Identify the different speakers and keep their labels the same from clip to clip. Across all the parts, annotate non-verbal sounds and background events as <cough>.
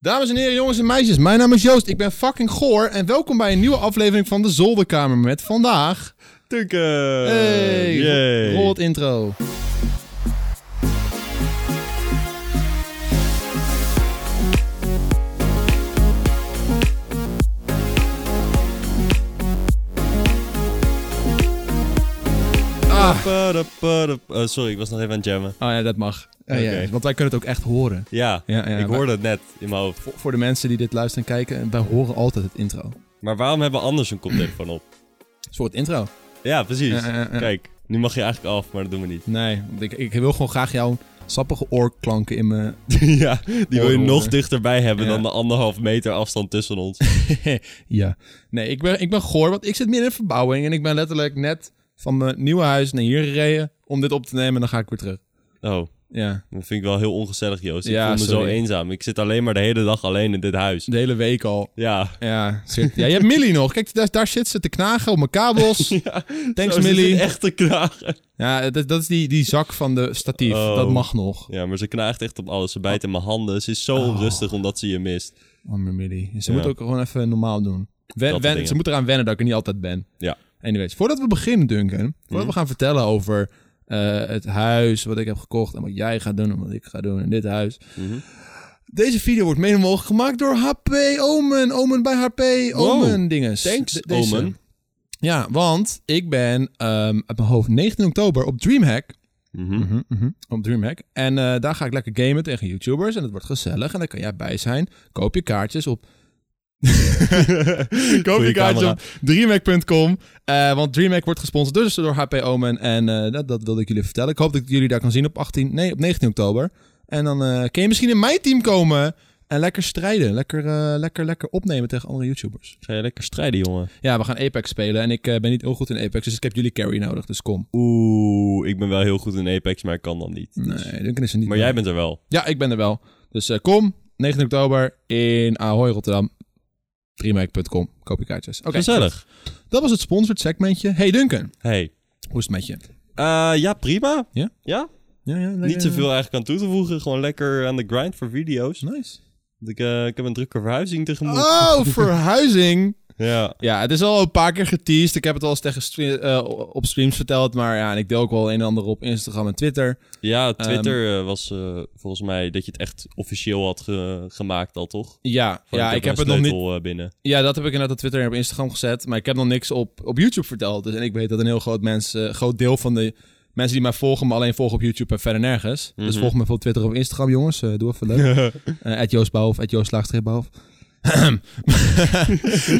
Speaker 1: Dames en heren, jongens en meisjes, mijn naam is Joost, ik ben fucking goor en welkom bij een nieuwe aflevering van de Zolderkamer met vandaag...
Speaker 2: Tunken!
Speaker 1: Eh, Hey,
Speaker 2: Yay.
Speaker 1: rol het intro. Ah.
Speaker 2: Parapadap- eh, sorry, ik was nog even aan het jammen.
Speaker 1: Oh ja, dat mag. Eh, ja,
Speaker 2: Oké.
Speaker 1: want wij kunnen het ook echt horen.
Speaker 2: Ja,
Speaker 1: Ja, ja,
Speaker 2: ik
Speaker 1: maar-
Speaker 2: hoorde het net in mijn hoofd.
Speaker 1: Voor, voor de mensen die dit luisteren en kijken, wij horen altijd het intro. Het
Speaker 2: Maar waarom hebben we anders een koptelefoon op?
Speaker 1: is voor het intro.
Speaker 2: Ja, precies.
Speaker 1: Ja, ja, ja.
Speaker 2: Kijk, nu mag je eigenlijk af, maar dat doen we niet.
Speaker 1: Nee, want ik, ik wil gewoon graag jouw sappige oorklanken in mijn...
Speaker 2: <laughs> ja, die wil je
Speaker 1: Oren
Speaker 2: nog
Speaker 1: horen.
Speaker 2: dichterbij hebben
Speaker 1: Ja.
Speaker 2: dan de anderhalf meter afstand tussen ons.
Speaker 1: <laughs> ja. Nee, ik ben, ik ben goor, want ik zit midden in verbouwing en ik ben letterlijk net van mijn nieuwe huis naar hier gereden om dit op te nemen en dan ga ik weer terug.
Speaker 2: <laughs> Oh,
Speaker 1: Ja.
Speaker 2: dat vind ik wel heel ongezellig, Joost. Ik
Speaker 1: Ja,
Speaker 2: voel me zo
Speaker 1: sorry.
Speaker 2: eenzaam. Ik zit alleen maar de hele dag alleen in dit huis.
Speaker 1: De hele week al.
Speaker 2: Ja.
Speaker 1: Ja, zit- ja je hebt Millie nog. Kijk, daar, daar zit ze te knagen op mijn
Speaker 2: <laughs>
Speaker 1: kabels. Thanks,
Speaker 2: Zo, ze
Speaker 1: Millie.
Speaker 2: zit echt te knagen.
Speaker 1: Ja, dat, dat is die, die zak van de statief.
Speaker 2: Oh.
Speaker 1: Dat mag nog.
Speaker 2: Ja, maar ze knaagt echt op alles. Ze bijt in mijn handen. Ze is zo
Speaker 1: Oh.
Speaker 2: onrustig omdat ze je mist.
Speaker 1: Arme Oh, Millie. Ze
Speaker 2: Ja.
Speaker 1: moet ook gewoon even normaal doen. Wen-
Speaker 2: soort
Speaker 1: wen-
Speaker 2: dingen.
Speaker 1: ze moet eraan wennen dat ik er niet altijd ben.
Speaker 2: Ja. Mhm.
Speaker 1: Anyways, voordat we beginnen, Duncan. Voordat we gaan vertellen over eh, het huis, wat ik heb gekocht en wat jij gaat doen en wat ik ga doen in dit huis.
Speaker 2: Mhm.
Speaker 1: Deze video wordt mede mogelijk gemaakt door HP Omen. Omen bij HP.
Speaker 2: Wow.
Speaker 1: Omen dinges.
Speaker 2: Thanks,
Speaker 1: De- deze.
Speaker 2: Omen.
Speaker 1: Ja, want ik ben ehm, uit mijn hoofd 19 oktober op Dreamhack.
Speaker 2: Mhm.
Speaker 1: Mhm, mhm. Op Dreamhack. En eh, daar ga ik lekker gamen tegen YouTubers. En het wordt gezellig. En daar kan jij bij zijn. Koop je kaartjes <laughs> op. Koop je
Speaker 2: Goeie
Speaker 1: kaartjes
Speaker 2: camera.
Speaker 1: op dreamhack.com. Eh, want Dreamhack wordt gesponsord dus door HP Omen. En eh, dat, dat wilde ik jullie vertellen. Ik hoop dat ik jullie daar kan zien op, 18, nee, op 19 oktober. En dan eh, kun je misschien in mijn team komen. En lekker strijden. Lekker, eh, lekker, lekker opnemen tegen andere YouTubers.
Speaker 2: Ga je lekker strijden, jongen?
Speaker 1: Ja, we gaan Apex spelen. En ik eh, ben niet heel goed in Apex. Dus ik heb jullie carry nodig. Dus kom.
Speaker 2: Oeh, ik ben wel heel goed in Apex, maar ik kan dan niet. Dus-
Speaker 1: Nee, Duncan is er niet.
Speaker 2: Maar jij bent er wel.
Speaker 1: Ja, ik ben er wel. Dus eh, kom, 19 oktober in Ahoy Rotterdam. Dreamhack.com. Koop je kaartjes. Oké,
Speaker 2: Gezellig.
Speaker 1: dat was het sponsored segmentje. Hey Duncan,
Speaker 2: Hey.
Speaker 1: hoe is het met je?
Speaker 2: Eh, ja, prima.
Speaker 1: Ja?
Speaker 2: Ja,
Speaker 1: Ja, ja,
Speaker 2: niet zoveel eigenlijk aan toe te voegen. Gewoon lekker aan de grind voor video's.
Speaker 1: Nice.
Speaker 2: Want Ik, eh, ik heb een drukke verhuizing tegemoet.
Speaker 1: Oh, verhuizing.
Speaker 2: Ja.
Speaker 1: Ja, het is al een paar keer geteased. Ik heb het al eens tegen stre- eh, op streams verteld. Maar ja, en ik deel ook wel een en ander op Instagram en Twitter.
Speaker 2: ja,
Speaker 1: Ehm.
Speaker 2: Twitter eh, was eh, volgens mij dat je het echt officieel had ge- gemaakt al, toch?
Speaker 1: Ja,
Speaker 2: Van,
Speaker 1: ja Oh, ik heb
Speaker 2: een
Speaker 1: het nog niet.
Speaker 2: sleutel, eh, binnen.
Speaker 1: Ja, dat heb ik inderdaad op Twitter en op Instagram gezet. Maar ik heb nog niks op, op YouTube verteld. Dus, en ik weet dat een heel groot, mens, eh, groot deel van de mensen die mij volgen... me alleen volgen op YouTube en verder nergens. Dus
Speaker 2: Mhm.
Speaker 1: volg me veel op Twitter en op Instagram, jongens. Eh, doe even
Speaker 2: <laughs>
Speaker 1: leuk. Eh at Joost Bouwhoff, at Joost Laagstreep Bouwhoff. <laughs>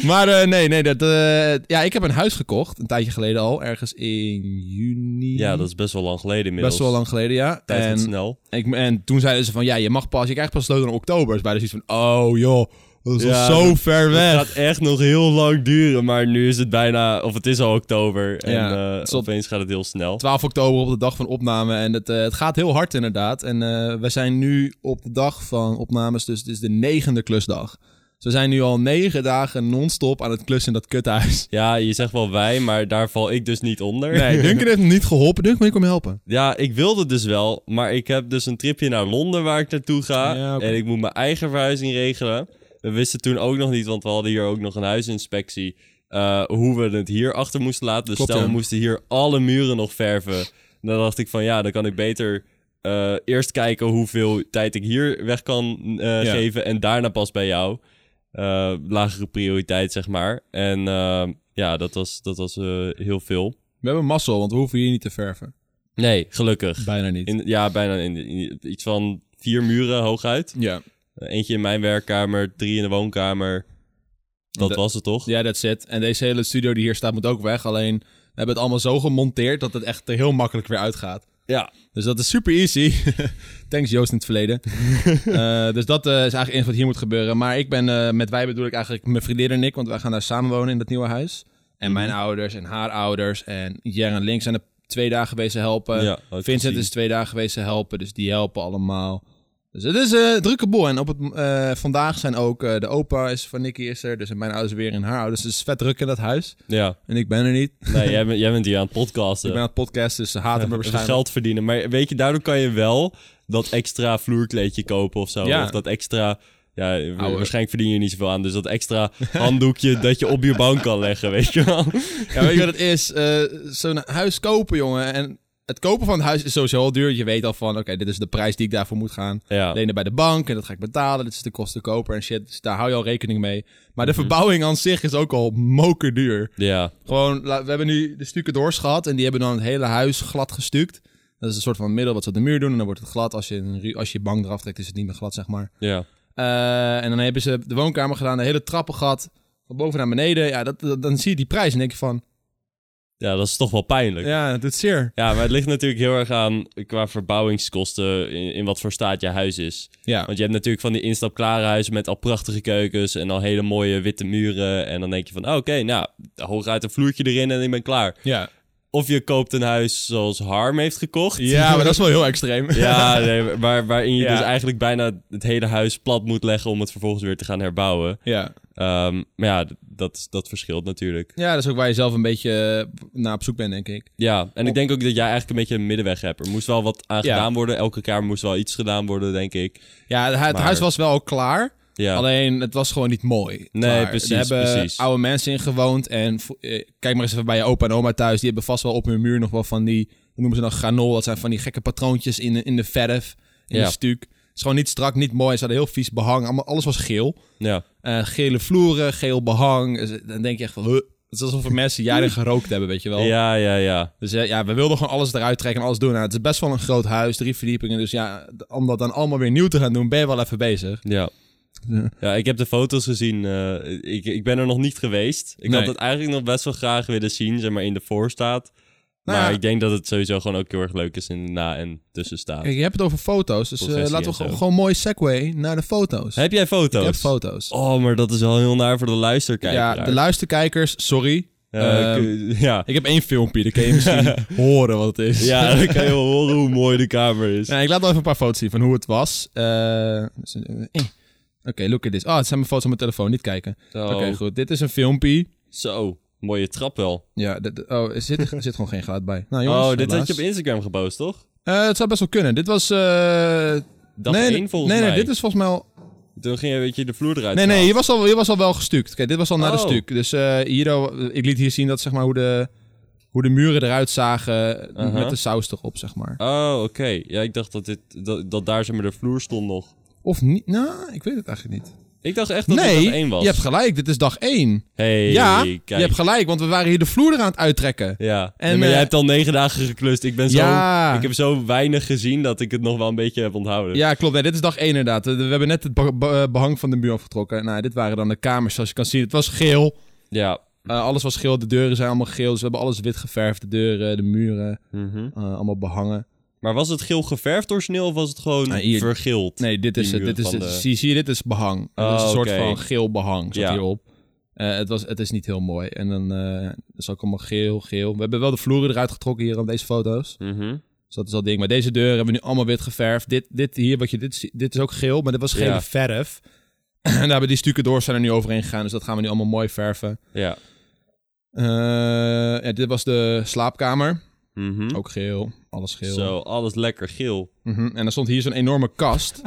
Speaker 1: maar eh, nee, nee. Dat, eh, ja, ik heb een huis gekocht. Een tijdje geleden al. Ergens in juni.
Speaker 2: Ja, dat is best wel lang geleden inmiddels.
Speaker 1: Best wel lang geleden, ja.
Speaker 2: Tijd gaat
Speaker 1: en,
Speaker 2: snel.
Speaker 1: ik, en toen zeiden ze van... Ja, je mag pas... Je krijgt pas sleutel in oktober. Dus bij de zoiets van... Oh, joh. Dat is al
Speaker 2: Ja,
Speaker 1: zo
Speaker 2: dat-
Speaker 1: ver weg.
Speaker 2: Het gaat echt nog heel lang duren, maar nu is het bijna... Of het is al oktober en
Speaker 1: Ja,
Speaker 2: eh,
Speaker 1: het is op-
Speaker 2: opeens gaat het heel snel.
Speaker 1: 12 oktober op de dag van opname. En het, eh, het gaat heel hard inderdaad. En eh, we zijn nu op de dag van opnames, dus het is de negende klusdag. Dus we zijn nu al negen dagen non-stop aan het klussen in dat kuthuis.
Speaker 2: Ja, je zegt wel wij, maar daar val ik dus niet onder.
Speaker 1: <laughs>
Speaker 2: <laughs>
Speaker 1: Nee, Duncan heeft me niet geholpen. Duncan, ik kom je helpen.
Speaker 2: Ja, ik wilde dus wel, maar ik heb dus een tripje naar Londen waar ik naartoe ga.
Speaker 1: Ja, oké.
Speaker 2: En ik moet mijn eigen verhuizing regelen. We wisten toen ook nog niet, want we hadden hier ook nog een huisinspectie. eh, hoe we het hier achter moesten laten. Dus
Speaker 1: Klopt,
Speaker 2: stel,
Speaker 1: ja.
Speaker 2: we moesten hier alle muren nog verven. Dan dacht ik van ja, dan kan ik beter eh, eerst kijken hoeveel tijd ik hier weg kan eh,
Speaker 1: Ja.
Speaker 2: geven. En daarna pas bij jou. Eh, lagere prioriteit, zeg maar. En eh, ja, dat was, dat was eh, heel veel.
Speaker 1: We hebben mazzel, want we hoeven hier niet te verven.
Speaker 2: Nee, gelukkig.
Speaker 1: Bijna niet.
Speaker 2: In, ja, bijna in, in- iets van vier muren hooguit.
Speaker 1: Ja,
Speaker 2: Eentje in mijn werkkamer, drie in de woonkamer. Dat
Speaker 1: De-
Speaker 2: was het toch?
Speaker 1: ja, that's it. En deze hele studio die hier staat moet ook weg. Alleen, we hebben het allemaal zo gemonteerd dat het echt er heel makkelijk weer uitgaat.
Speaker 2: Ja.
Speaker 1: Dus dat is super easy. <laughs> Thanks Joost in het
Speaker 2: <laughs>
Speaker 1: verleden. Eh, dus dat eh, is eigenlijk eens wat hier moet gebeuren. Maar ik ben, eh, met wij bedoel ik eigenlijk mijn vriendin en ik, want wij gaan daar samen wonen in dat nieuwe huis. En
Speaker 2: Mhm.
Speaker 1: mijn ouders en haar ouders en Jer en Link zijn er twee dagen geweest te helpen.
Speaker 2: Ja, oh, had ik
Speaker 1: eh, Vincent
Speaker 2: gezien.
Speaker 1: is twee dagen geweest te helpen, dus die helpen allemaal. Dus het is een drukke boel. En op het, eh, vandaag zijn ook eh, de opa is van Nicky is er, dus mijn ouders weer en haar ouders. Dus het is vet druk in dat huis.
Speaker 2: Ja.
Speaker 1: En ik ben er niet. <laughs>
Speaker 2: Nee, jij, bent- jij bent hier aan het
Speaker 1: Ik
Speaker 2: podcasten.
Speaker 1: ben aan het podcasten, dus ze haten me
Speaker 2: Even
Speaker 1: waarschijnlijk.
Speaker 2: geld verdienen. Maar weet je, daardoor kan je wel dat extra vloerkleedje kopen of zo.
Speaker 1: Ja.
Speaker 2: Of dat extra ja, wa-
Speaker 1: Ouwe.
Speaker 2: waarschijnlijk verdien je niet zoveel aan. Dus dat extra handdoekje dat je op je bank kan leggen, weet
Speaker 1: <laughs>
Speaker 2: je wel.
Speaker 1: Ja, weet je wat het is? Eh, Zo'n huis kopen, jongen. En het kopen van een huis is sowieso al duur. Je weet al van, oké, dit is de prijs die ik daarvoor moet gaan.
Speaker 2: Ja,
Speaker 1: Lenen bij de bank en dat ga ik betalen. Dit is de kostenkoper en shit. Dus daar hou je al rekening mee. Maar de verbouwing aan zich is ook al mokerduur.
Speaker 2: ja,
Speaker 1: Gewoon, la- we hebben nu de stukken doorschat en die hebben dan het hele huis glad gestuukt. Dat is een soort van middel wat ze op de muur doen en dan wordt het glad. Als je, een ru- als je bank eraf trekt is het niet meer glad, zeg maar.
Speaker 2: ja.
Speaker 1: Eh, en dan hebben ze de woonkamer gedaan, de hele trappen gehad. Van boven naar beneden. Ja, dat, dat- dan zie je die prijs en denk je van...
Speaker 2: Ja, dat is toch wel pijnlijk. Ja.
Speaker 1: Ja, dat doet zeer.
Speaker 2: maar het ligt natuurlijk heel erg aan qua verbouwingskosten in, in wat voor staat je huis is.
Speaker 1: Ja.
Speaker 2: Want je hebt natuurlijk van die instapklare huizen met al prachtige keukens en al hele mooie witte muren. En dan denk je van, oh, oké, nou, hooguit een vloertje erin en ik ben klaar.
Speaker 1: Ja.
Speaker 2: Of je koopt een huis zoals Harm heeft gekocht.
Speaker 1: ja, maar dat is wel heel <laughs> extreem.
Speaker 2: <laughs> Ja, nee, waar, waarin je
Speaker 1: Ja.
Speaker 2: dus eigenlijk bijna het hele huis plat moet leggen om het vervolgens weer te gaan herbouwen.
Speaker 1: Ja.
Speaker 2: Ehm, maar ja, d- dat, dat verschilt natuurlijk.
Speaker 1: ja, dat is ook waar je zelf een beetje eh, naar op zoek bent, denk ik.
Speaker 2: Ja, en ik denk ook dat jij eigenlijk een beetje een middenweg hebt. Er moest wel wat aan
Speaker 1: Ja.
Speaker 2: gedaan worden. Elke kamer moest wel iets gedaan worden, denk ik.
Speaker 1: Ja, het, hu- het
Speaker 2: Maar-
Speaker 1: huis was wel al klaar.
Speaker 2: Ja,
Speaker 1: Alleen, het was gewoon niet mooi.
Speaker 2: Nee,
Speaker 1: Klaar.
Speaker 2: precies,
Speaker 1: Er hebben
Speaker 2: precies.
Speaker 1: oude mensen in gewoond. En vo- eh, kijk maar eens even bij je opa en oma thuis. Die hebben vast wel op hun muur nog wel van die... Hoe noemen ze dat? Granol. Dat zijn van die gekke patroontjes in, de- in de verf. In
Speaker 2: Ja.
Speaker 1: de stuk. Het is gewoon niet strak, niet mooi. Ze hadden heel vies behang. Allemaal, alles was geel.
Speaker 2: ja.
Speaker 1: Eh, gele vloeren, geel behang. Dus Dan denk je echt van... Huh. Het is alsof er mensen jaren gerookt hebben, weet je wel.
Speaker 2: ja, ja, ja.
Speaker 1: Dus eh, ja, we wilden gewoon alles eruit trekken en alles doen. Nou, het is best wel een groot huis, drie verdiepingen. Dus ja, d- om dat dan allemaal weer nieuw te gaan doen, ben je wel even bezig.
Speaker 2: Ja.
Speaker 1: Ja.
Speaker 2: Ja, ik heb de foto's gezien. eh, ik, ik ben er nog niet geweest. Ik had
Speaker 1: Nee.
Speaker 2: het eigenlijk nog best wel graag willen zien, zeg maar, in de voorstaat.
Speaker 1: Nou
Speaker 2: maar
Speaker 1: ja.
Speaker 2: ik denk dat het sowieso gewoon ook heel erg leuk is in de na- en tussenstaat.
Speaker 1: Kijk, je hebt het over foto's, dus eh,
Speaker 2: Processie
Speaker 1: laten we
Speaker 2: en zo.
Speaker 1: gewoon- gewoon mooi segue naar de foto's.
Speaker 2: Heb jij foto's?
Speaker 1: Ik heb foto's.
Speaker 2: Oh, maar dat is wel heel naar voor de luisterkijker.
Speaker 1: ja, de luisterkijkers, sorry.
Speaker 2: Eh,
Speaker 1: Ehm,
Speaker 2: kun- ja.
Speaker 1: ik heb één filmpje, dan kun je misschien horen wat het is.
Speaker 2: <laughs> ja, dan kan je wel horen hoe mooi de kamer
Speaker 1: <laughs>
Speaker 2: is.
Speaker 1: Nou, ik laat wel even een paar foto's zien van hoe het was. Eh, dus, eh, eh. Oké, look at this. Ah, het zijn mijn foto's op mijn telefoon, niet kijken.
Speaker 2: Zo.
Speaker 1: Oké, goed. Dit is een filmpje.
Speaker 2: Zo, mooie trap wel.
Speaker 1: Ja, dit- oh, er zit, er zit gewoon geen geluid bij. Nou, jongens,
Speaker 2: Oh, dit
Speaker 1: helaas.
Speaker 2: had je op Instagram gepost, toch?
Speaker 1: Eh, het zou best wel kunnen. Dit was. eh
Speaker 2: Dag
Speaker 1: nee,
Speaker 2: één volgens
Speaker 1: nee,
Speaker 2: mij.
Speaker 1: Nee, dit is volgens mij al.
Speaker 2: Toen ging je een beetje de vloer eruit
Speaker 1: Nee, nee,
Speaker 2: halen.
Speaker 1: hier was al, hier was al wel gestuukt. Kijk, dit was al na de
Speaker 2: Oh.
Speaker 1: stuk. Dus eh, hier, al- ik liet hier zien dat, zeg maar, hoe de, hoe de muren eruit zagen.
Speaker 2: Aha.
Speaker 1: Met de saus erop, zeg maar.
Speaker 2: Oh, oké. Ja, ik dacht dat, dit, dat, dat daar zeg maar de vloer stond nog.
Speaker 1: Of niet? Nou, ik weet het eigenlijk niet.
Speaker 2: Ik dacht echt dat het
Speaker 1: nee,
Speaker 2: dag één was.
Speaker 1: je hebt gelijk. Dit is dag één.
Speaker 2: hey,
Speaker 1: ja,
Speaker 2: kijk.
Speaker 1: je hebt gelijk, want we waren hier de vloer eraan het uittrekken.
Speaker 2: Ja,
Speaker 1: En,
Speaker 2: Nee, maar
Speaker 1: eh,
Speaker 2: jij hebt al negen dagen geklust. Ik, ben zo,
Speaker 1: Ja.
Speaker 2: ik heb zo weinig gezien dat ik het nog wel een beetje heb onthouden.
Speaker 1: Ja, klopt. Nee, dit is dag één inderdaad. We we hebben net het be- be- behang van de muur afgetrokken. Nou, dit waren dan de kamers, zoals je kan zien. Het was geel.
Speaker 2: ja.
Speaker 1: Eh, alles was geel, de deuren zijn allemaal geel. Dus we hebben alles wit geverfd. De deuren, de muren,
Speaker 2: Mhm.
Speaker 1: eh, allemaal behangen.
Speaker 2: Maar was het geel geverfd origineel of was het gewoon
Speaker 1: Nou, hier-
Speaker 2: vergild?
Speaker 1: Nee, dit is
Speaker 2: Die
Speaker 1: het. Dit
Speaker 2: muren
Speaker 1: is,
Speaker 2: van
Speaker 1: dit
Speaker 2: de-
Speaker 1: zie, zie je, dit is behang.
Speaker 2: Oh,
Speaker 1: dat is een soort
Speaker 2: oké.
Speaker 1: van geel behang, zat
Speaker 2: Ja.
Speaker 1: hierop. Eh, het, was, het is niet heel mooi. En dan eh, dat is ook allemaal geel, geel. We hebben wel de vloeren eruit getrokken hier op deze foto's.
Speaker 2: Mhm.
Speaker 1: Dus dat is al ding. Maar deze deuren hebben we nu allemaal wit geverfd. Dit, dit hier, wat je dit ziet, dit is ook geel, maar dit was gele
Speaker 2: Ja.
Speaker 1: verf. <clears throat> En daar hebben die stukken door zijn er nu overheen gegaan. Dus dat gaan we nu allemaal mooi verven.
Speaker 2: Ja.
Speaker 1: Eh, ja, dit was de slaapkamer.
Speaker 2: Mhm.
Speaker 1: Ook geel, alles Oh, geel.
Speaker 2: Zo, alles lekker geel.
Speaker 1: Mhm, En dan stond hier zo'n enorme
Speaker 2: <laughs>
Speaker 1: kast.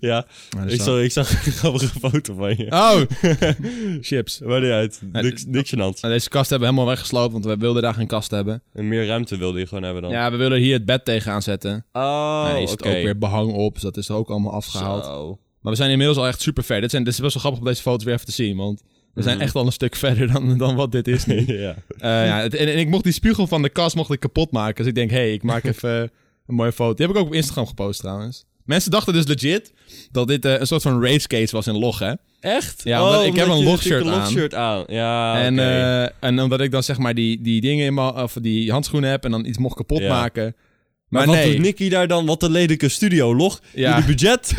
Speaker 2: Ja,
Speaker 1: Maar er
Speaker 2: ik,
Speaker 1: staat-
Speaker 2: zag, ik zag <laughs> een grappige foto van je.
Speaker 1: Oh! <laughs> Chips.
Speaker 2: Maar niet uit.
Speaker 1: Nee,
Speaker 2: Niks, niks gênants.
Speaker 1: Nou, deze kast hebben we helemaal weggesloopt, want we wilden daar geen kast hebben.
Speaker 2: En meer ruimte wilde je gewoon hebben dan.
Speaker 1: Ja, we wilden hier het bed tegenaan zetten.
Speaker 2: Oh,
Speaker 1: Oh,
Speaker 2: oké.
Speaker 1: is het ook weer behang op, dus dat is er ook allemaal afgehaald.
Speaker 2: Zo.
Speaker 1: Maar we zijn inmiddels al echt super ver. Dit, zijn, dit is best wel grappig om deze foto's weer even te zien, want we zijn
Speaker 2: Mhm.
Speaker 1: echt al een stuk <laughs> verder dan, dan wat dit
Speaker 2: <laughs>
Speaker 1: is nu.
Speaker 2: <laughs> ja.
Speaker 1: Eh, ja, het- en, en ik mocht die spiegel van de kast mocht ik kapot maken. Dus ik denk, hé, hey, ik
Speaker 2: <laughs>
Speaker 1: maak even eh, een mooie foto. Die heb ik ook op Instagram gepost trouwens. Mensen dachten dus legit dat dit eh, een soort van racecase was in log, hè?
Speaker 2: Echt?
Speaker 1: Ja, want ik
Speaker 2: omdat
Speaker 1: heb een
Speaker 2: je
Speaker 1: logshirt
Speaker 2: natuurlijk
Speaker 1: aan.
Speaker 2: een logshirt aan. Ja,
Speaker 1: En,
Speaker 2: Ah, oké.
Speaker 1: eh, en omdat ik dan zeg maar die, die dingen in mijn of die handschoenen heb en dan iets mocht kapot
Speaker 2: Ja.
Speaker 1: maken.
Speaker 2: maar
Speaker 1: Maar,
Speaker 2: wat
Speaker 1: nee,
Speaker 2: doet Nicky daar dan? Wat een lelijke studio. Log,
Speaker 1: Ja.
Speaker 2: jullie
Speaker 1: <laughs>
Speaker 2: budget.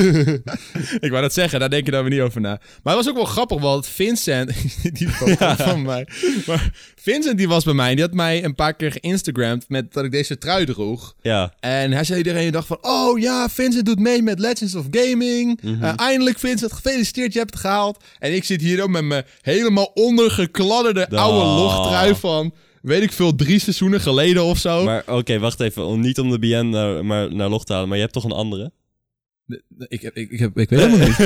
Speaker 1: ik wou dat zeggen, daar denk je dan weer niet over na. Maar het was ook wel grappig, want Vincent, <laughs> die foto van mij. Maar Vincent die was bij mij, en die had mij een paar keer geïnstagramd met dat ik deze trui droeg.
Speaker 2: ja.
Speaker 1: En hij zei iedereen dacht van, oh ja, Vincent doet mee met Legends of Gaming. Eh, eindelijk Vincent, gefeliciteerd, je hebt het gehaald. En ik zit hier ook met mijn helemaal ondergekladderde
Speaker 2: Ah.
Speaker 1: oude logtrui van, weet ik veel, drie seizoenen geleden of zo.
Speaker 2: Maar oké, wacht even. Om, niet om de BN naar, maar, naar log te halen, maar je hebt toch een andere?
Speaker 1: De- de- Ik, heb- ik, ik, heb, <laughs> ik weet helemaal niet.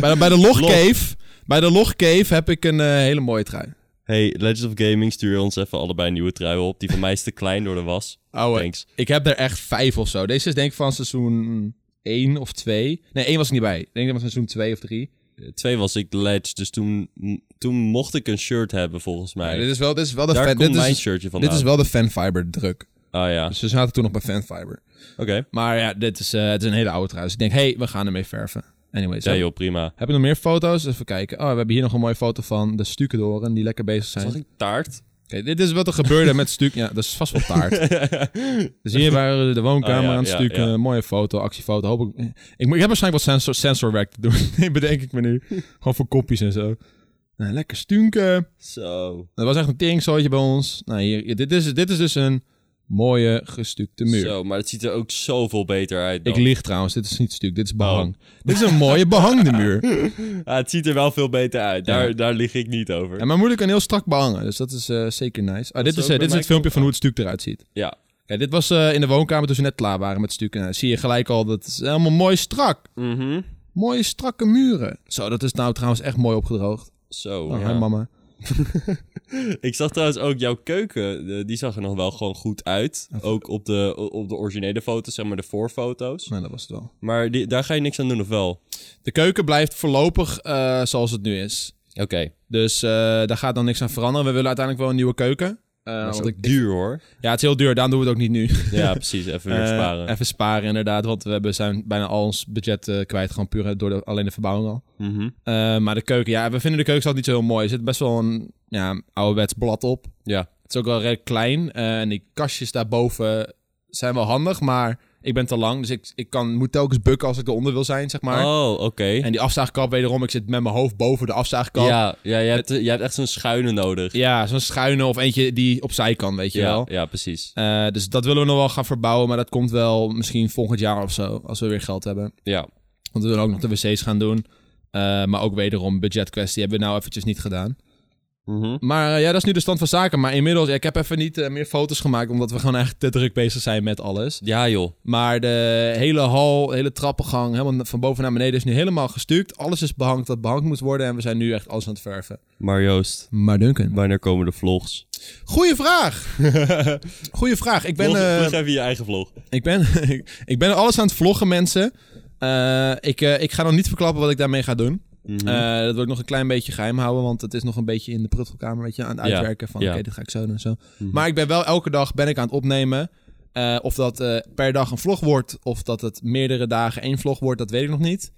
Speaker 1: Bij de, bij de Log
Speaker 2: Log.
Speaker 1: Cave, bij de Log Cave heb ik een eh, hele mooie trui.
Speaker 2: Hey, Legends of Gaming, stuur ons even allebei nieuwe truien op. Die van mij is te klein door de
Speaker 1: <laughs>
Speaker 2: was.
Speaker 1: Ouwe,
Speaker 2: Thanks.
Speaker 1: ik heb er echt vijf of zo. Deze is denk ik van seizoen 1 of 2. Nee, 1 was er niet bij. Ik denk dat het van seizoen 2 of 3.
Speaker 2: Eh, Twee was ik Ledge, dus toen, m- toen mocht ik een shirt hebben volgens mij.
Speaker 1: dit is wel, dit is wel de
Speaker 2: Daar
Speaker 1: fan,
Speaker 2: komt
Speaker 1: dit
Speaker 2: mijn
Speaker 1: is, dus-
Speaker 2: shirtje vandaan.
Speaker 1: dit is wel de fanfiber druk.
Speaker 2: Ah ja,
Speaker 1: Dus we zaten toen nog bij fanfiber.
Speaker 2: oké.
Speaker 1: Maar ja, dit is, eh, het is een hele oude trui. Dus ik denk, hey, we gaan ermee verven. Anyways,
Speaker 2: Ja
Speaker 1: heb,
Speaker 2: joh, prima.
Speaker 1: heb ik nog meer foto's? Even kijken. Oh, we hebben hier nog een mooie foto van de stukendoren die lekker bezig zijn.
Speaker 2: Zag ik taart?
Speaker 1: Oké, dit is wat er gebeurde met Stuk. Ja, dat is vast wel taart.
Speaker 2: <laughs>
Speaker 1: Dus hier waren we de woonkamer
Speaker 2: Ah, ja,
Speaker 1: aan het
Speaker 2: ja,
Speaker 1: stukken.
Speaker 2: ja.
Speaker 1: Mooie foto, actiefoto. Hoop ik, ik, moet- ik heb waarschijnlijk wat sensor, sensorwerk te doen. <laughs> Bedenk ik me nu. Gewoon voor kopjes en zo. Nou, lekker stunken.
Speaker 2: Zo.
Speaker 1: Dat was echt een teringzootje bij ons. Nou, hier, dit, is, dit is dus een mooie gestukte muur.
Speaker 2: Zo, maar het ziet er ook zoveel beter uit dan.
Speaker 1: Ik lieg trouwens, dit is niet stuk, dit
Speaker 2: Oh.
Speaker 1: is behang.
Speaker 2: <laughs>
Speaker 1: Dit is een mooie behangde muur.
Speaker 2: Ah, het ziet er wel veel beter uit. Daar, daar lig ik niet over.
Speaker 1: En mijn moeder kan heel strak behangen, dus dat is eh, zeker nice. Ah, dit
Speaker 2: is
Speaker 1: is,
Speaker 2: ook
Speaker 1: eh, dit
Speaker 2: bij
Speaker 1: is
Speaker 2: mij
Speaker 1: het filmpje
Speaker 2: ook.
Speaker 1: van hoe het stuk eruit ziet.
Speaker 2: Ja.
Speaker 1: Kijk, dit was eh, in de woonkamer toen ze net klaar waren met stukken. Nou, zie je gelijk al, dat is helemaal mooi strak.
Speaker 2: Mhm.
Speaker 1: Mooie strakke muren. Zo, dat is nou trouwens echt mooi opgedroogd.
Speaker 2: Zo.
Speaker 1: Oh,
Speaker 2: ja.
Speaker 1: hi mama.
Speaker 2: Ik zag trouwens ook jouw keuken. eh, Die zag er nog wel gewoon goed uit. Ook op de, op de originele foto's, zeg maar de voorfoto's.
Speaker 1: Nou, dat was het wel.
Speaker 2: Maar die, daar ga je niks aan doen, of wel? Oké.
Speaker 1: De keuken blijft voorlopig eh, zoals het nu is. Dus eh, daar gaat dan niks aan veranderen. We willen uiteindelijk wel een nieuwe keuken. Eh,
Speaker 2: Dat is
Speaker 1: want
Speaker 2: ook
Speaker 1: ik-
Speaker 2: duur, hoor.
Speaker 1: ja, het is heel duur, daarom doen we het ook niet nu. <laughs>
Speaker 2: Ja, precies. Even weer
Speaker 1: Eh,
Speaker 2: sparen.
Speaker 1: even sparen, inderdaad. Want we hebben zijn bijna al ons budget eh, kwijt. Gewoon puur door de, alleen de verbouwing al.
Speaker 2: Mhm.
Speaker 1: Eh, maar de keuken, ja, we vinden de keuken zelf niet zo heel mooi. Er zit best wel een ja, ouderwets blad op.
Speaker 2: Ja.
Speaker 1: Het is ook wel redelijk klein. eh, en die kastjes daarboven zijn wel handig. Maar ik ben te lang, dus ik, ik kan, moet telkens bukken als ik eronder wil zijn, zeg maar.
Speaker 2: Oh, oké.
Speaker 1: En die afzaagkap, wederom, ik zit met mijn hoofd boven de afzaagkap. Ja,
Speaker 2: Ja, ja jij, hebt, jij hebt echt zo'n schuine nodig.
Speaker 1: zo'n schuine of eentje die opzij kan, weet je
Speaker 2: Ja,
Speaker 1: wel.
Speaker 2: ja, precies.
Speaker 1: Eh, dus dat willen we nog wel gaan verbouwen. Maar dat komt wel misschien volgend jaar of zo, als we weer geld hebben.
Speaker 2: Ja.
Speaker 1: Want we willen ook nog de wc's gaan doen. Eh, maar ook wederom budgetkwestie hebben we nou eventjes niet gedaan.
Speaker 2: Mhm.
Speaker 1: Maar eh, ja, dat is nu de stand van zaken. Maar inmiddels, ja, ik heb even niet eh, meer foto's gemaakt, omdat we gewoon echt te druk bezig zijn met alles.
Speaker 2: Ja, joh.
Speaker 1: Maar de hele hal, de hele trappengang, helemaal van boven naar beneden is nu helemaal gestuukt. Alles is behangd wat behangd moet worden en we zijn nu echt alles aan het verven.
Speaker 2: Maar Joost,
Speaker 1: Maar Duncan.
Speaker 2: wanneer komen de vlogs?
Speaker 1: Goeie <laughs> vraag! Goeie vraag. Ik ben,
Speaker 2: vlog,
Speaker 1: eh,
Speaker 2: vlog even je eigen vlog.
Speaker 1: ik, ben, <laughs> ik ben alles aan het vloggen, mensen. Eh, ik, eh, ik ga nog niet verklappen wat ik daarmee ga doen.
Speaker 2: Mhm.
Speaker 1: Eh, dat wil ik nog een klein beetje geheim houden, want het is nog een beetje in de pruttelkamer, weet je, aan het
Speaker 2: Ja,
Speaker 1: uitwerken van
Speaker 2: ja. Mhm.
Speaker 1: oké, dit ga ik zo doen en zo. Maar ik ben wel elke dag ben ik aan het opnemen. Eh, of dat eh, per dag een vlog wordt, of dat het meerdere dagen één vlog wordt, dat weet ik nog niet.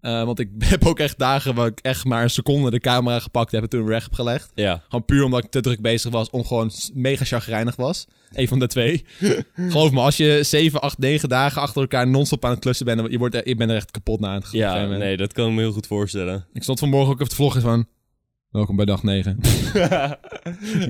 Speaker 1: Eh, want ik <laughs> heb ook echt dagen waar ik echt maar een seconde de camera gepakt heb en toen weg heb gelegd.
Speaker 2: ja.
Speaker 1: Gewoon puur omdat ik te druk bezig was om gewoon s- mega chagrijnig was. Eén van de
Speaker 2: <laughs>
Speaker 1: twee. Geloof me, als je 7, 8, 9 dagen achter elkaar non-stop aan het klussen bent, dan- je, wordt, er- je bent er echt kapot na aan het ge-
Speaker 2: Ja,
Speaker 1: gegeven moment.
Speaker 2: nee, dat kan ik me heel goed voorstellen.
Speaker 1: Ik stond vanmorgen ook op het vloggen van... Welkom bij dag
Speaker 2: <laughs>
Speaker 1: 9. <laughs> ik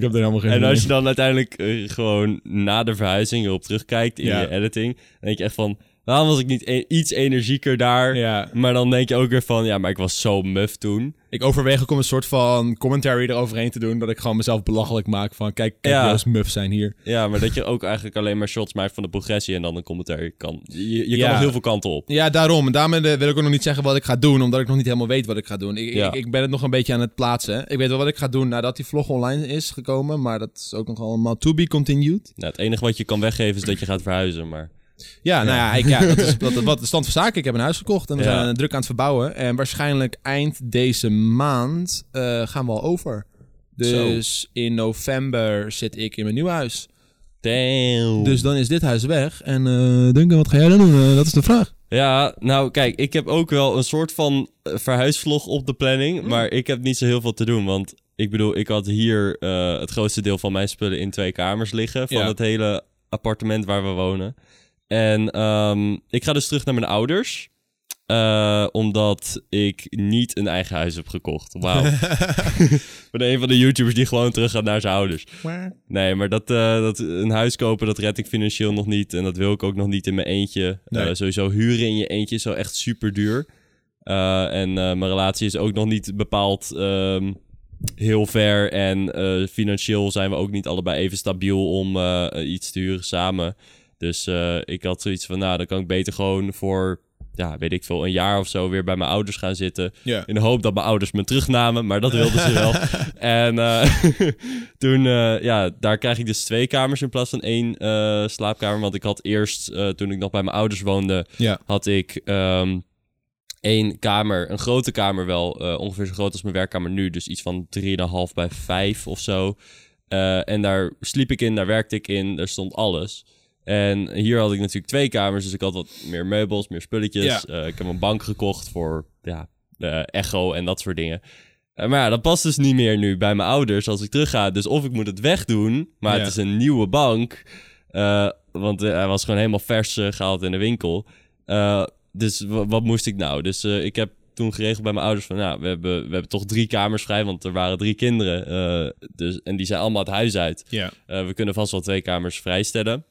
Speaker 1: heb er helemaal geen
Speaker 2: en
Speaker 1: zin
Speaker 2: als
Speaker 1: in.
Speaker 2: je dan uiteindelijk eh, gewoon na de verhuizing erop terugkijkt in
Speaker 1: Ja.
Speaker 2: je editing, dan denk je echt van, waarom was ik niet e- iets energieker daar?
Speaker 1: Ja,
Speaker 2: Maar dan denk je ook weer van, ja, maar ik was zo muf toen.
Speaker 1: ik overweeg ook om een soort van commentary eroverheen te doen. Dat ik gewoon mezelf belachelijk maak van... Kijk, kijk
Speaker 2: Ja.
Speaker 1: Joost muf zijn hier.
Speaker 2: Ja, maar dat je ook eigenlijk alleen maar shots maakt van de progressie en dan een commentaar kan. Je, je
Speaker 1: Ja.
Speaker 2: kan nog heel veel kanten op.
Speaker 1: Ja, daarom. En daarmee eh, wil ik ook nog niet zeggen wat ik ga doen. Omdat ik nog niet helemaal weet wat ik ga doen. Ik,
Speaker 2: Ja.
Speaker 1: ik, ik ben het nog een beetje aan het plaatsen. Ik weet wel wat ik ga doen nadat die vlog online is gekomen. Maar dat is ook nog allemaal to be continued.
Speaker 2: Nou, het enige wat je kan weggeven is dat je gaat verhuizen, maar...
Speaker 1: Ja, nou ja, ik, <laughs> ja dat is wat, wat de stand van zaken. Ik heb een huis gekocht en we
Speaker 2: Ja.
Speaker 1: zijn eh, druk aan het verbouwen. En waarschijnlijk eind deze maand eh, gaan we al over. Dus in november zit ik in mijn nieuw huis.
Speaker 2: Damn.
Speaker 1: Dus dan is dit huis weg. En eh Duncan, wat ga jij dan doen? Eh, dat is de vraag.
Speaker 2: Ja, nou kijk, ik heb ook wel een soort van eh, verhuisvlog op de planning. Maar ik heb niet zo heel veel te doen. Want ik bedoel, ik had hier eh, het grootste deel van mijn spullen in twee kamers liggen. Van
Speaker 1: Ja.
Speaker 2: het hele appartement waar we wonen. En ehm, ik ga dus terug naar mijn ouders. eh, omdat ik niet een eigen huis heb gekocht. Wauw. <laughs> ik ben een van de YouTubers die gewoon terug gaat naar zijn ouders. Nee, maar dat, eh, dat, een huis kopen, dat red ik financieel nog niet. En dat wil ik ook nog niet in mijn eentje.
Speaker 1: Nee.
Speaker 2: Eh, sowieso huren in je eentje is wel echt super duur. en eh, mijn relatie is ook nog niet bepaald ehm, heel ver. En eh, financieel zijn we ook niet allebei even stabiel om eh, iets te huren samen. Dus eh, ik had zoiets van, nou, dan kan ik beter gewoon voor ja, weet ik veel, een jaar of zo weer bij mijn ouders gaan zitten.
Speaker 1: Ja.
Speaker 2: In de hoop dat mijn ouders me terugnamen, maar dat wilden ze wel. En eh, <laughs> toen, eh, ja, daar krijg ik dus twee kamers in plaats van één eh, slaapkamer. Want ik had eerst, eh, toen ik nog bij mijn ouders woonde,
Speaker 1: Ja.
Speaker 2: had ik ehm één kamer, een grote kamer wel, eh, ongeveer zo groot als mijn werkkamer nu. Dus iets van 3,5 bij 5 of zo. Eh, en daar sliep ik in, daar werkte ik in, daar stond alles. En hier had ik natuurlijk twee kamers, dus ik had wat meer meubels, meer spulletjes.
Speaker 1: Ja.
Speaker 2: Eh, ik heb een bank gekocht voor ja, eh, echo en dat soort dingen. Eh, maar ja, dat past dus niet meer nu bij mijn ouders als ik terugga. Dus of ik moet het wegdoen, maar
Speaker 1: Ja.
Speaker 2: het is een nieuwe bank. eh, want eh, hij was gewoon helemaal vers eh, gehaald in de winkel. Eh, dus wa- wat moest ik nou? Dus eh, ik heb toen geregeld bij mijn ouders van... Nou, we hebben, we hebben toch drie kamers vrij, want er waren drie kinderen. eh, dus, en die zijn allemaal het huis uit.
Speaker 1: Ja.
Speaker 2: Eh, we kunnen vast wel twee kamers vrijstellen.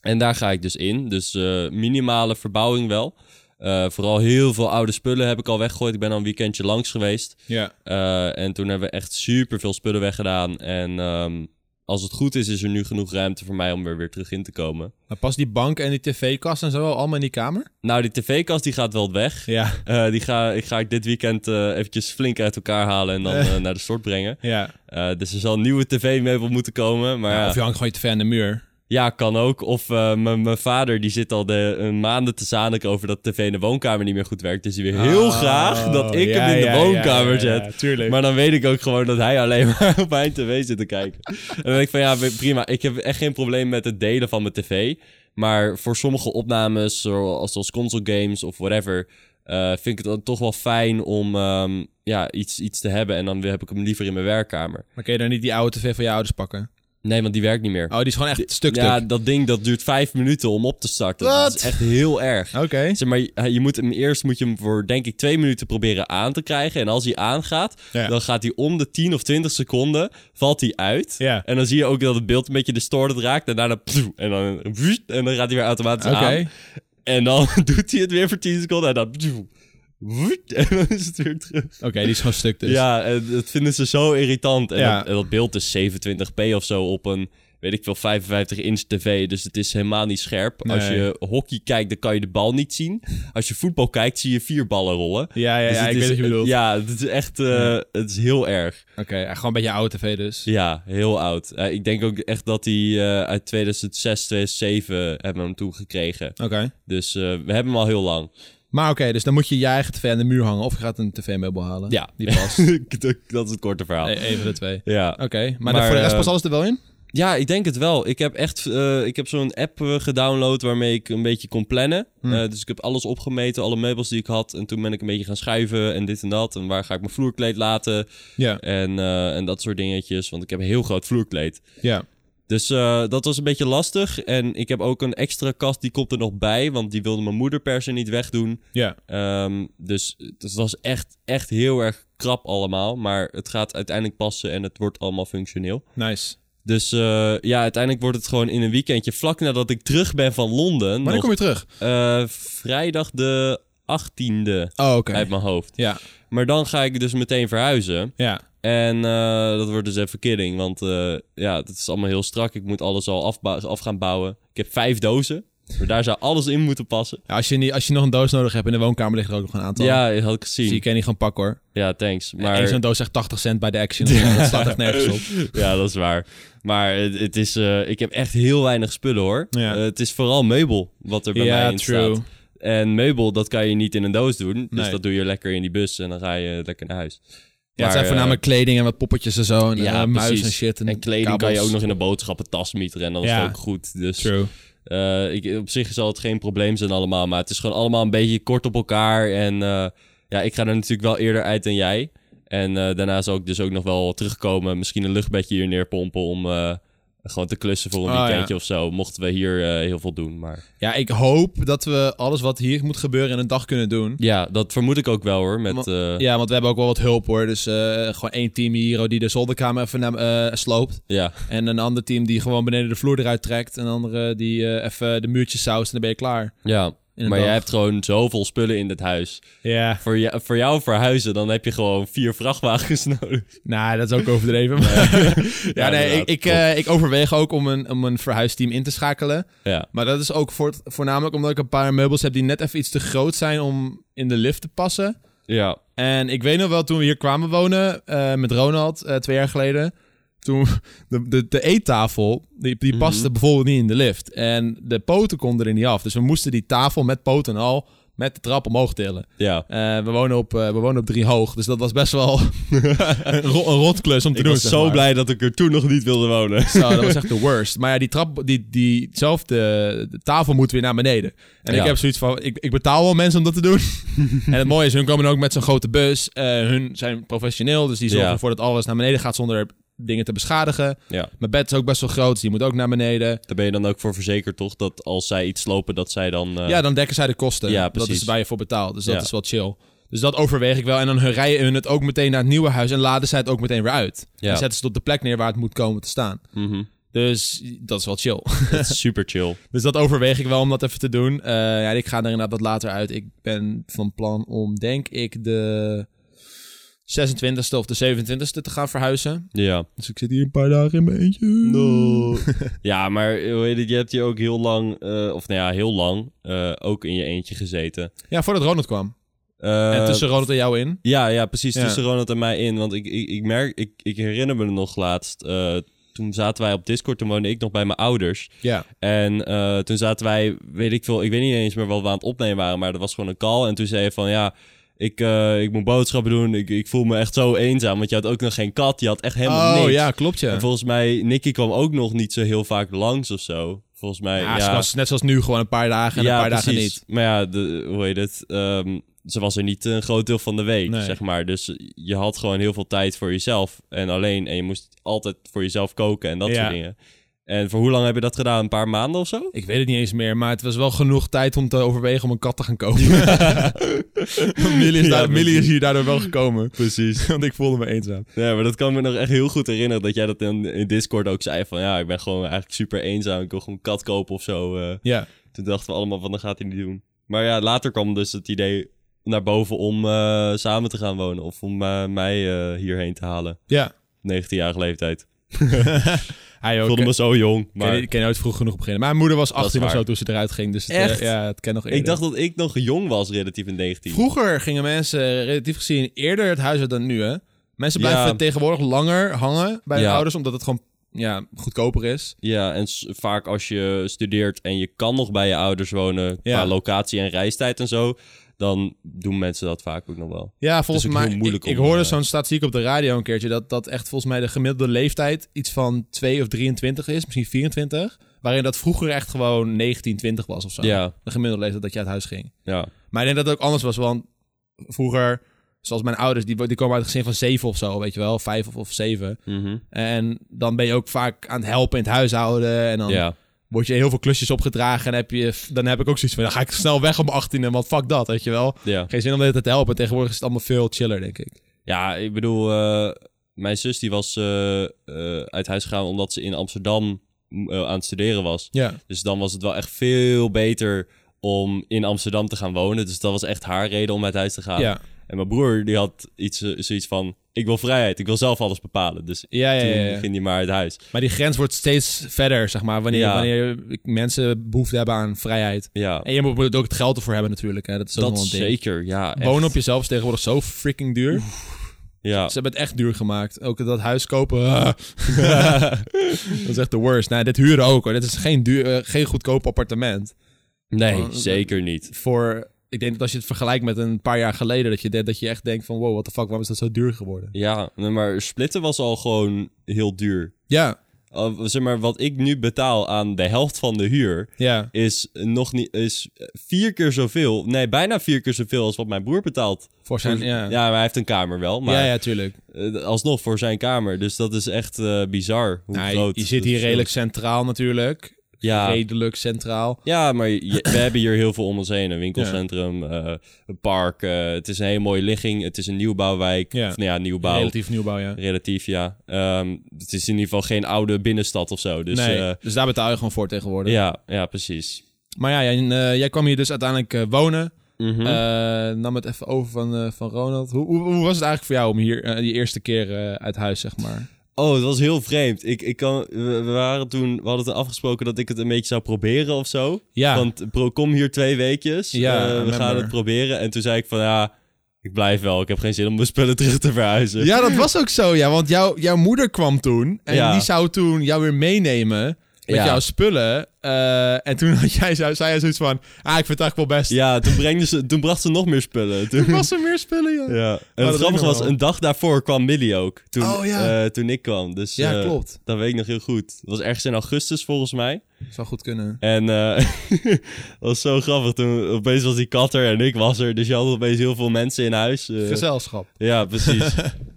Speaker 2: En daar ga ik dus in. Dus eh, minimale verbouwing wel. Eh, vooral heel veel oude spullen heb ik al weggegooid. Ik ben al een weekendje langs geweest.
Speaker 1: Ja.
Speaker 2: Eh, en toen hebben we echt super veel spullen weggedaan. En ehm, als het goed is, is er nu genoeg ruimte voor mij om er weer terug in te komen.
Speaker 1: Maar past die bank en die tv-kast en zo wel allemaal in die kamer?
Speaker 2: Nou, die tv-kast die gaat wel weg.
Speaker 1: Ja.
Speaker 2: Eh, die ga, ik ga ik dit weekend eh, eventjes flink uit elkaar halen en dan eh, naar de stort brengen.
Speaker 1: Ja.
Speaker 2: Eh, dus er zal een nieuwe tv-meubel moeten komen. Maar ja.
Speaker 1: Of je hangt gewoon je tv aan de muur.
Speaker 2: Ja, kan ook. Of eh, mijn mijn vader die zit al de, een maanden te zaniken over dat tv in de woonkamer niet meer goed werkt. Dus die wil heel
Speaker 1: Oh,
Speaker 2: graag dat ik
Speaker 1: ja,
Speaker 2: hem in de
Speaker 1: ja,
Speaker 2: woonkamer
Speaker 1: ja, ja,
Speaker 2: zet.
Speaker 1: ja, tuurlijk.
Speaker 2: <laughs> Maar dan weet ik ook gewoon dat hij alleen maar <laughs> op mijn tv zit te kijken. en dan denk ik van ja, prima. Ik heb echt geen probleem met het delen van mijn tv. Maar voor sommige opnames, zoals zoals console games of whatever, eh, vind ik het dan toch wel fijn om ehm, ja, iets, iets te hebben. En dan heb ik hem liever in mijn werkkamer.
Speaker 1: Maar kun je dan niet die oude tv van je ouders pakken?
Speaker 2: Nee, want die werkt niet meer.
Speaker 1: Oh, die is gewoon echt stuk
Speaker 2: Ja,
Speaker 1: stuk.
Speaker 2: dat ding dat duurt vijf minuten om op te starten. Dat is
Speaker 1: Wat?
Speaker 2: echt heel erg.
Speaker 1: Oké.
Speaker 2: Zeg maar, je- je moet hem eerst moet je hem voor denk ik twee minuten proberen aan te krijgen. En als hij aangaat,
Speaker 1: Ja.
Speaker 2: dan gaat hij om de 10 of 20 seconden valt hij uit.
Speaker 1: Ja.
Speaker 2: En dan zie je ook dat het beeld een beetje distorted raakt. En daarna pff, en dan, pff, en dan gaat hij weer automatisch
Speaker 1: Oké.
Speaker 2: aan. En dan <laughs> doet hij het weer voor 10 seconden. En dan, pff, woet, en dan is het weer terug.
Speaker 1: Oké, die is gewoon stuk dus.
Speaker 2: Ja, en dat vinden ze zo irritant. En,
Speaker 1: Ja.
Speaker 2: dat, en dat beeld is 27p of zo op een, weet ik veel, 55 inch tv. Dus het is helemaal niet scherp. Als
Speaker 1: Nee.
Speaker 2: je hockey kijkt, dan kan je de bal niet zien. Als je voetbal kijkt, zie je vier ballen rollen.
Speaker 1: Ja, ja,
Speaker 2: Dus
Speaker 1: ja,
Speaker 2: het
Speaker 1: ik
Speaker 2: is,
Speaker 1: weet wat je bedoelt.
Speaker 2: Ja, het is echt, eh, het is heel erg.
Speaker 1: Oké, ja, gewoon een beetje oude tv dus.
Speaker 2: Ja, heel oud. Eh, ik denk ook echt dat hij eh, uit 2006, 2007 hebben we hem toen gekregen.
Speaker 1: Oké.
Speaker 2: Dus eh, we hebben hem al heel lang.
Speaker 1: Maar oké, dus dan moet je je eigen tv aan de muur hangen of je gaat een tv-meubel halen.
Speaker 2: Ja, <laughs>
Speaker 1: Die past.
Speaker 2: dat, dat is het korte verhaal.
Speaker 1: E- Even de twee.
Speaker 2: Ja.
Speaker 1: Oké, maar,
Speaker 2: Maar,
Speaker 1: voor de rest
Speaker 2: eh,
Speaker 1: past alles er wel in?
Speaker 2: Ja, ik denk het wel. Ik heb echt eh, ik heb zo'n app eh, gedownload waarmee ik een beetje kon plannen. Eh, dus ik heb alles opgemeten, alle meubels die ik had. En toen ben ik een beetje gaan schuiven en dit en dat. En waar ga ik mijn vloerkleed laten?
Speaker 1: Ja,
Speaker 2: En, eh, en dat soort dingetjes. Want ik heb een heel groot vloerkleed.
Speaker 1: ja.
Speaker 2: Dus eh, dat was een beetje lastig. En ik heb ook een extra kast, die komt er nog bij. Want die wilde mijn moeder per se niet wegdoen.
Speaker 1: Ja,
Speaker 2: Ehm, dus het was echt, echt heel erg krap allemaal. Maar het gaat uiteindelijk passen en het wordt allemaal functioneel.
Speaker 1: nice.
Speaker 2: Dus eh, ja, uiteindelijk wordt het gewoon in een weekendje. Vlak nadat ik terug ben van Londen.
Speaker 1: Wanneer
Speaker 2: nog,
Speaker 1: kom je terug?
Speaker 2: eh, vrijdag de 18e
Speaker 1: Oh, oké.
Speaker 2: uit mijn hoofd.
Speaker 1: Ja,
Speaker 2: Maar dan ga ik dus meteen verhuizen.
Speaker 1: ja.
Speaker 2: En eh, dat wordt dus even kidding. Want eh, ja, het is allemaal heel strak. Ik moet alles al afbou- af gaan bouwen. Ik heb vijf dozen. Maar daar zou alles in moeten passen.
Speaker 1: Ja, als, je niet, als je nog een doos nodig hebt in de woonkamer ligt er ook nog een aantal.
Speaker 2: Ja, dat had ik
Speaker 1: Dus je
Speaker 2: gezien.
Speaker 1: kan die gewoon pakken hoor.
Speaker 2: Ja, thanks.
Speaker 1: Maar... Eén
Speaker 2: Maar
Speaker 1: zo'n doos echt 80 cent bij de Action. of zo. Dat <laughs> staat echt nergens op.
Speaker 2: Ja, dat is waar. Maar het, het is, eh, ik heb echt heel weinig spullen hoor.
Speaker 1: Ja.
Speaker 2: Eh, het is vooral meubel wat er <laughs> bij
Speaker 1: Ja,
Speaker 2: mij in
Speaker 1: true.
Speaker 2: staat. En meubel, dat kan je niet in een doos doen. Dus
Speaker 1: Nee.
Speaker 2: dat doe je lekker in die bus en dan ga je lekker naar huis.
Speaker 1: Ja, het zijn
Speaker 2: eh,
Speaker 1: voornamelijk kleding en wat poppetjes en zo. En
Speaker 2: ja,
Speaker 1: eh, muis
Speaker 2: precies.
Speaker 1: en shit. En,
Speaker 2: en kleding kan je
Speaker 1: kabels.
Speaker 2: ook nog in een boodschappentas mieteren en dan is
Speaker 1: Ja.
Speaker 2: het ook goed. Dus
Speaker 1: True.
Speaker 2: eh, ik, op zich zal het geen probleem zijn allemaal. Maar het is gewoon allemaal een beetje kort op elkaar. En eh, ja, ik ga er natuurlijk wel eerder uit dan jij. En eh, daarna zal ik dus ook nog wel terugkomen. Misschien een luchtbedje hier neerpompen om eh, gewoon te klussen voor een
Speaker 1: Oh, ja.
Speaker 2: weekendje of zo. Mochten we hier eh, heel veel doen. Maar
Speaker 1: Ja, ik hoop dat we alles wat hier moet gebeuren in een dag kunnen doen.
Speaker 2: ja, dat vermoed ik ook wel hoor. Met,
Speaker 1: Want-
Speaker 2: eh, ja.
Speaker 1: Ja, want we hebben ook wel wat hulp hoor. Dus eh, gewoon één team hier die de zolderkamer even naar, eh, sloopt. En een ander team die gewoon beneden de vloer eruit trekt. En een andere die eh, even de muurtjes saust en dan ben je klaar.
Speaker 2: ja.
Speaker 1: in een
Speaker 2: maar
Speaker 1: dag.
Speaker 2: jij hebt gewoon zoveel spullen in dit huis.
Speaker 1: Ja,
Speaker 2: Voor, jou, voor jou verhuizen, dan heb je gewoon vier vrachtwagens <laughs> nodig.
Speaker 1: nou, dat is ook overdreven. maar- <laughs> ja, nee, ik,
Speaker 2: inderdaad,
Speaker 1: ik,
Speaker 2: klopt.
Speaker 1: eh, ik overweeg ook om een, om een verhuisteam in te schakelen.
Speaker 2: Ja,
Speaker 1: Maar dat is ook voort- voornamelijk omdat ik een paar meubels heb die net even iets te groot zijn om in de lift te passen.
Speaker 2: ja.
Speaker 1: En ik weet nog wel, toen we hier kwamen wonen eh, met Ronald eh, twee jaar geleden. Toen <laughs> de, de, de eettafel, die, die paste bijvoorbeeld niet in de lift. En de poten konden er niet af. Dus we moesten die tafel met poten en al met de trap omhoog tillen.
Speaker 2: ja.
Speaker 1: Eh, we, wonen op, eh, we wonen op drie hoog. Dus dat was best wel <laughs> een, ro- een rotklus om te
Speaker 2: Ik
Speaker 1: doen.
Speaker 2: was
Speaker 1: zeg
Speaker 2: zo
Speaker 1: maar.
Speaker 2: blij dat ik er toen nog niet wilde wonen.
Speaker 1: Zo, dat was echt de worst. Maar ja, die trap, die, diezelfde de tafel moet weer naar beneden. En
Speaker 2: Ja.
Speaker 1: ik heb zoiets van, ik, ik betaal wel mensen om dat te <laughs> doen. en het mooie is, hun komen ook met zo'n grote bus. Eh, hun zijn professioneel, dus die zorgen
Speaker 2: Ja.
Speaker 1: ervoor dat alles naar beneden gaat zonder dingen te beschadigen.
Speaker 2: Ja,
Speaker 1: Mijn bed is ook best wel groot, dus die moet ook naar beneden.
Speaker 2: <laughs> daar ben je dan ook voor verzekerd, toch? Dat als zij iets slopen, dat zij dan... eh,
Speaker 1: Ja, dan dekken zij de kosten.
Speaker 2: Ja,
Speaker 1: dat
Speaker 2: precies.
Speaker 1: is waar je voor betaalt, dus dat
Speaker 2: Ja.
Speaker 1: is wel chill. Dus dat overweeg ik wel. En dan hun- rijden hun het ook meteen naar het nieuwe huis en laden zij het ook meteen weer uit.
Speaker 2: Ja.
Speaker 1: En zetten ze het op de plek neer waar het moet komen te staan.
Speaker 2: mhm.
Speaker 1: Dus dat is wel chill. <laughs>
Speaker 2: Dat is super chill.
Speaker 1: Dus dat overweeg ik wel om dat even te doen. Eh, ja, ik ga er inderdaad wat later uit. Ik ben van plan om, denk ik, de 26e of de 27e te gaan verhuizen.
Speaker 2: <laughs> Ja.
Speaker 1: Dus ik zit hier een paar dagen in mijn eentje.
Speaker 2: <laughs> ja, maar eh, hoe heet het, je hebt hier ook heel lang, eh, of nou ja, heel lang, eh, ook in je eentje gezeten.
Speaker 1: Ja, voordat Ronald kwam.
Speaker 2: Eh,
Speaker 1: en tussen Ronald en jou in.
Speaker 2: Ja, ja, precies. Dus
Speaker 1: Ja.
Speaker 2: Tussen Ronald en mij in. Want ik, ik, ik merk, ik, ik herinner me nog laatst. eh, toen zaten wij op Discord, toen woonde ik nog bij mijn ouders.
Speaker 1: Ja.
Speaker 2: En eh, toen zaten wij, weet ik veel, ik weet niet eens meer wat we aan het opnemen waren, maar dat was gewoon een call. En toen zei je van ja. Ik, eh, ik moet boodschappen doen. Ik, ik voel me echt zo eenzaam. Want je had ook nog geen kat. Je had echt helemaal
Speaker 1: oh,
Speaker 2: niks.
Speaker 1: ja, klopt ja.
Speaker 2: En volgens mij, Nicky kwam ook nog niet zo heel vaak langs of zo. Volgens mij.
Speaker 1: ja,
Speaker 2: Ja,
Speaker 1: ze was net zoals nu, gewoon een paar dagen en een paar dagen niet.
Speaker 2: Maar ja, de, hoe heet het? ehm, ze was er niet een groot deel van de week,
Speaker 1: Nee.
Speaker 2: zeg maar. Dus je had gewoon heel veel tijd voor jezelf en alleen. En je moest altijd voor jezelf koken en dat
Speaker 1: Ja.
Speaker 2: soort dingen. En voor hoe lang heb je dat gedaan? Een paar maanden of zo?
Speaker 1: Ik weet het niet eens meer, maar het was wel genoeg tijd om te overwegen om een kat te gaan kopen. <laughs> Millie, is
Speaker 2: Ja,
Speaker 1: daar- Millie is
Speaker 2: precies.
Speaker 1: hier daardoor wel gekomen. <laughs>
Speaker 2: Precies.
Speaker 1: Want ik voelde me eenzaam.
Speaker 2: Ja, maar dat kan me nog echt heel goed herinneren. Dat jij dat in, in Discord ook zei van... Ja, ik ben gewoon eigenlijk super eenzaam. Ik wil gewoon een kat kopen of zo. eh.
Speaker 1: Ja.
Speaker 2: Toen dachten we allemaal van, dan gaat hij niet doen. Maar ja, later kwam dus het idee naar boven om eh, samen te gaan wonen. Of om eh, mij eh, hierheen te halen.
Speaker 1: Ja.
Speaker 2: 19-jarige leeftijd. Ik
Speaker 1: Hij ook.
Speaker 2: voelde me zo jong.
Speaker 1: Ik ken-
Speaker 2: Maar
Speaker 1: Ik ken nooit vroeg genoeg beginnen. Mijn moeder was
Speaker 2: is
Speaker 1: 18 of
Speaker 2: waar.
Speaker 1: zo toen ze eruit ging. Dus het,
Speaker 2: Echt?
Speaker 1: eh, ja, het ken nog eerder.
Speaker 2: ik dacht dat ik nog jong was, relatief in 19.
Speaker 1: Vroeger gingen mensen eh, relatief gezien eerder het huis uit dan nu, hè? Mensen blijven
Speaker 2: Ja.
Speaker 1: tegenwoordig langer hangen bij hun
Speaker 2: Ja.
Speaker 1: ouders, omdat het gewoon ja, goedkoper is.
Speaker 2: Ja, en s- vaak als je studeert en je kan nog bij je ouders wonen...
Speaker 1: Ja.
Speaker 2: qua locatie en reistijd en zo... dan doen mensen dat vaak ook nog wel.
Speaker 1: Ja, volgens
Speaker 2: ook heel
Speaker 1: mij.
Speaker 2: moeilijk
Speaker 1: ik, ik
Speaker 2: om,
Speaker 1: hoorde
Speaker 2: eh,
Speaker 1: zo'n statistiek op de radio een keertje dat dat echt volgens mij de gemiddelde leeftijd iets van 2 of 23 is, misschien 24. Waarin dat vroeger echt gewoon 19, 20 was of zo.
Speaker 2: Ja,
Speaker 1: De gemiddelde leeftijd dat je uit huis ging.
Speaker 2: ja.
Speaker 1: Maar ik denk dat het ook anders was, want vroeger, zoals mijn ouders, die, die komen uit een gezin van zeven of zo, weet je wel, vijf of, of zeven.
Speaker 2: Mhm.
Speaker 1: En dan ben je ook vaak aan het helpen in het huishouden en dan
Speaker 2: Ja,
Speaker 1: word je heel veel klusjes opgedragen en heb je, dan heb ik ook zoiets van, dan ga ik snel weg om 18 en wat fuck dat, weet je wel.
Speaker 2: ja.
Speaker 1: Geen zin om de hele tijd te helpen. Tegenwoordig is het allemaal veel chiller, denk ik.
Speaker 2: Ja, ik bedoel, eh, mijn zus die was eh, eh, uit huis gegaan omdat ze in Amsterdam mm, eh, aan het studeren was.
Speaker 1: Ja,
Speaker 2: Dus dan was het wel echt veel beter om in Amsterdam te gaan wonen. Dus dat was echt haar reden om uit huis te gaan.
Speaker 1: ja.
Speaker 2: En mijn broer die had iets, eh, zoiets van, ik wil vrijheid, ik wil zelf alles bepalen. Dus
Speaker 1: Ja, ja,
Speaker 2: toen
Speaker 1: ja, ja.
Speaker 2: ging hij maar uit huis.
Speaker 1: Maar die grens wordt steeds verder, zeg maar, wanneer,
Speaker 2: Ja.
Speaker 1: wanneer mensen behoefte hebben aan vrijheid.
Speaker 2: Ja,
Speaker 1: En je moet ook het geld ervoor hebben natuurlijk, hè. Dat is ook
Speaker 2: dat
Speaker 1: nog wel een ding.
Speaker 2: zeker. Ja, echt.
Speaker 1: Wonen op jezelf is tegenwoordig zo freaking duur.
Speaker 2: Ja.
Speaker 1: Ze hebben het echt duur gemaakt. Ook dat huis kopen. ah. <laughs> dat is echt de worst. Nou, dit huren ook hoor. Dit is geen, duur, eh, geen goedkoop appartement.
Speaker 2: Nee,
Speaker 1: Oh,
Speaker 2: zeker niet.
Speaker 1: Voor, ik denk dat als je het vergelijkt met een paar jaar geleden, dat je, de- dat je echt denkt van wow, what the fuck, waarom is dat zo duur geworden?
Speaker 2: Ja, nee, maar splitten was al gewoon heel duur.
Speaker 1: Ja,
Speaker 2: Al- zeg maar, wat ik nu betaal aan de helft van de huur...
Speaker 1: ja.
Speaker 2: is nog niet is vier keer zoveel. Nee, bijna vier keer zoveel als wat mijn broer betaalt.
Speaker 1: Voor zijn, ja. Ja,
Speaker 2: maar hij heeft een kamer wel, maar
Speaker 1: ja, tuurlijk.
Speaker 2: eh, alsnog voor zijn kamer. Dus dat is echt eh, bizar hoe
Speaker 1: Nou, je-
Speaker 2: groot.
Speaker 1: je, zit
Speaker 2: dat
Speaker 1: hier
Speaker 2: verschil
Speaker 1: redelijk
Speaker 2: is. Ah.
Speaker 1: centraal natuurlijk.
Speaker 2: Ja,
Speaker 1: Redelijk centraal.
Speaker 2: ja, maar je- we hebben hier heel veel om ons heen. Een winkelcentrum, eh, een park. eh, het is een hele mooie ligging. Het is een nieuwbouwwijk.
Speaker 1: Ja.
Speaker 2: Of, nou ja, nieuwbouw. Relatief,
Speaker 1: Relatief nieuwbouw, ja.
Speaker 2: ja. Ehm, het is in ieder geval geen oude binnenstad of zo. Dus
Speaker 1: nee,
Speaker 2: eh,
Speaker 1: dus daar betaal je gewoon voor tegenwoordig.
Speaker 2: ja, ja, precies.
Speaker 1: Maar ja, jij, eh, jij kwam hier dus uiteindelijk eh, wonen.
Speaker 2: Mhm.
Speaker 1: Eh, nam het even over van, eh, van Ronald. Hoe, hoe, hoe was het eigenlijk voor jou om hier eh, die eerste keer eh, uit huis, zeg maar?
Speaker 2: Oh, het was heel vreemd. Ik, ik kan, we, we waren toen, we hadden het afgesproken dat ik het een beetje zou proberen of zo.
Speaker 1: Ja,
Speaker 2: Want pro, kom hier twee weekjes.
Speaker 1: Ja,
Speaker 2: Eh,
Speaker 1: I
Speaker 2: we gaan
Speaker 1: remember.
Speaker 2: het proberen. En toen zei ik van ja, ik blijf wel. Ik heb geen zin om mijn spullen terug te verhuizen.
Speaker 1: ja, dat was ook zo, ja. Want jouw jouw moeder kwam toen en
Speaker 2: Ja.
Speaker 1: die zou toen jou weer meenemen met
Speaker 2: Ja.
Speaker 1: jouw spullen. Eh, en toen had jij, zo- zei jij zoiets van, ah, ik vind het eigenlijk wel best.
Speaker 2: Ja, toen, brengde ze, toen bracht ze nog meer spullen. Toen,
Speaker 1: Toen was <laughs> er meer spullen, joh.
Speaker 2: ja. En
Speaker 1: dat
Speaker 2: het
Speaker 1: is
Speaker 2: grappige
Speaker 1: nog
Speaker 2: was,
Speaker 1: wel.
Speaker 2: een dag daarvoor kwam Millie ook. Toen,
Speaker 1: Oh, ja.
Speaker 2: eh, toen ik kwam. Dus,
Speaker 1: Ja,
Speaker 2: eh,
Speaker 1: klopt.
Speaker 2: Dat weet ik nog heel goed. Het was ergens in augustus volgens mij.
Speaker 1: Zou goed kunnen.
Speaker 2: En eh, <laughs> dat was zo grappig. Toen opeens was die katter en ik was er. Dus je had opeens heel veel mensen in huis. eh.
Speaker 1: Gezelschap. <laughs>
Speaker 2: ja, precies.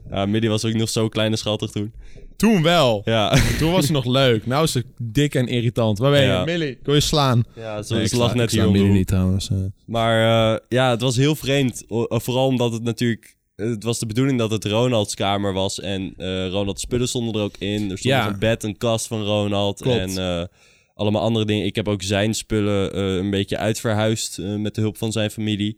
Speaker 2: ja, Millie was ook nog zo klein en schattig toen.
Speaker 1: Toen wel.
Speaker 2: Ja.
Speaker 1: Toen was ze nog leuk. Nou is ze dik en irritant. Waar ben je?
Speaker 2: Ja.
Speaker 1: Millie, ik wil je slaan.
Speaker 2: <laughs> Ja, soms
Speaker 1: Nee, ik
Speaker 2: lag
Speaker 1: sla- ik
Speaker 2: net
Speaker 1: sla
Speaker 2: die om de
Speaker 1: Millie
Speaker 2: hoek.
Speaker 1: niet trouwens. eh.
Speaker 2: Maar eh, ja, het was heel vreemd. O- eh, vooral omdat het natuurlijk... Het was de bedoeling dat het Ronalds kamer was. En eh Ronald's spullen stonden er ook in. Er stond
Speaker 1: Ja.
Speaker 2: nog een bed, een kast van Ronald.
Speaker 1: Klopt.
Speaker 2: En eh, allemaal andere dingen. Ik heb ook zijn spullen eh, een beetje uitverhuisd. eh, met de hulp van zijn familie.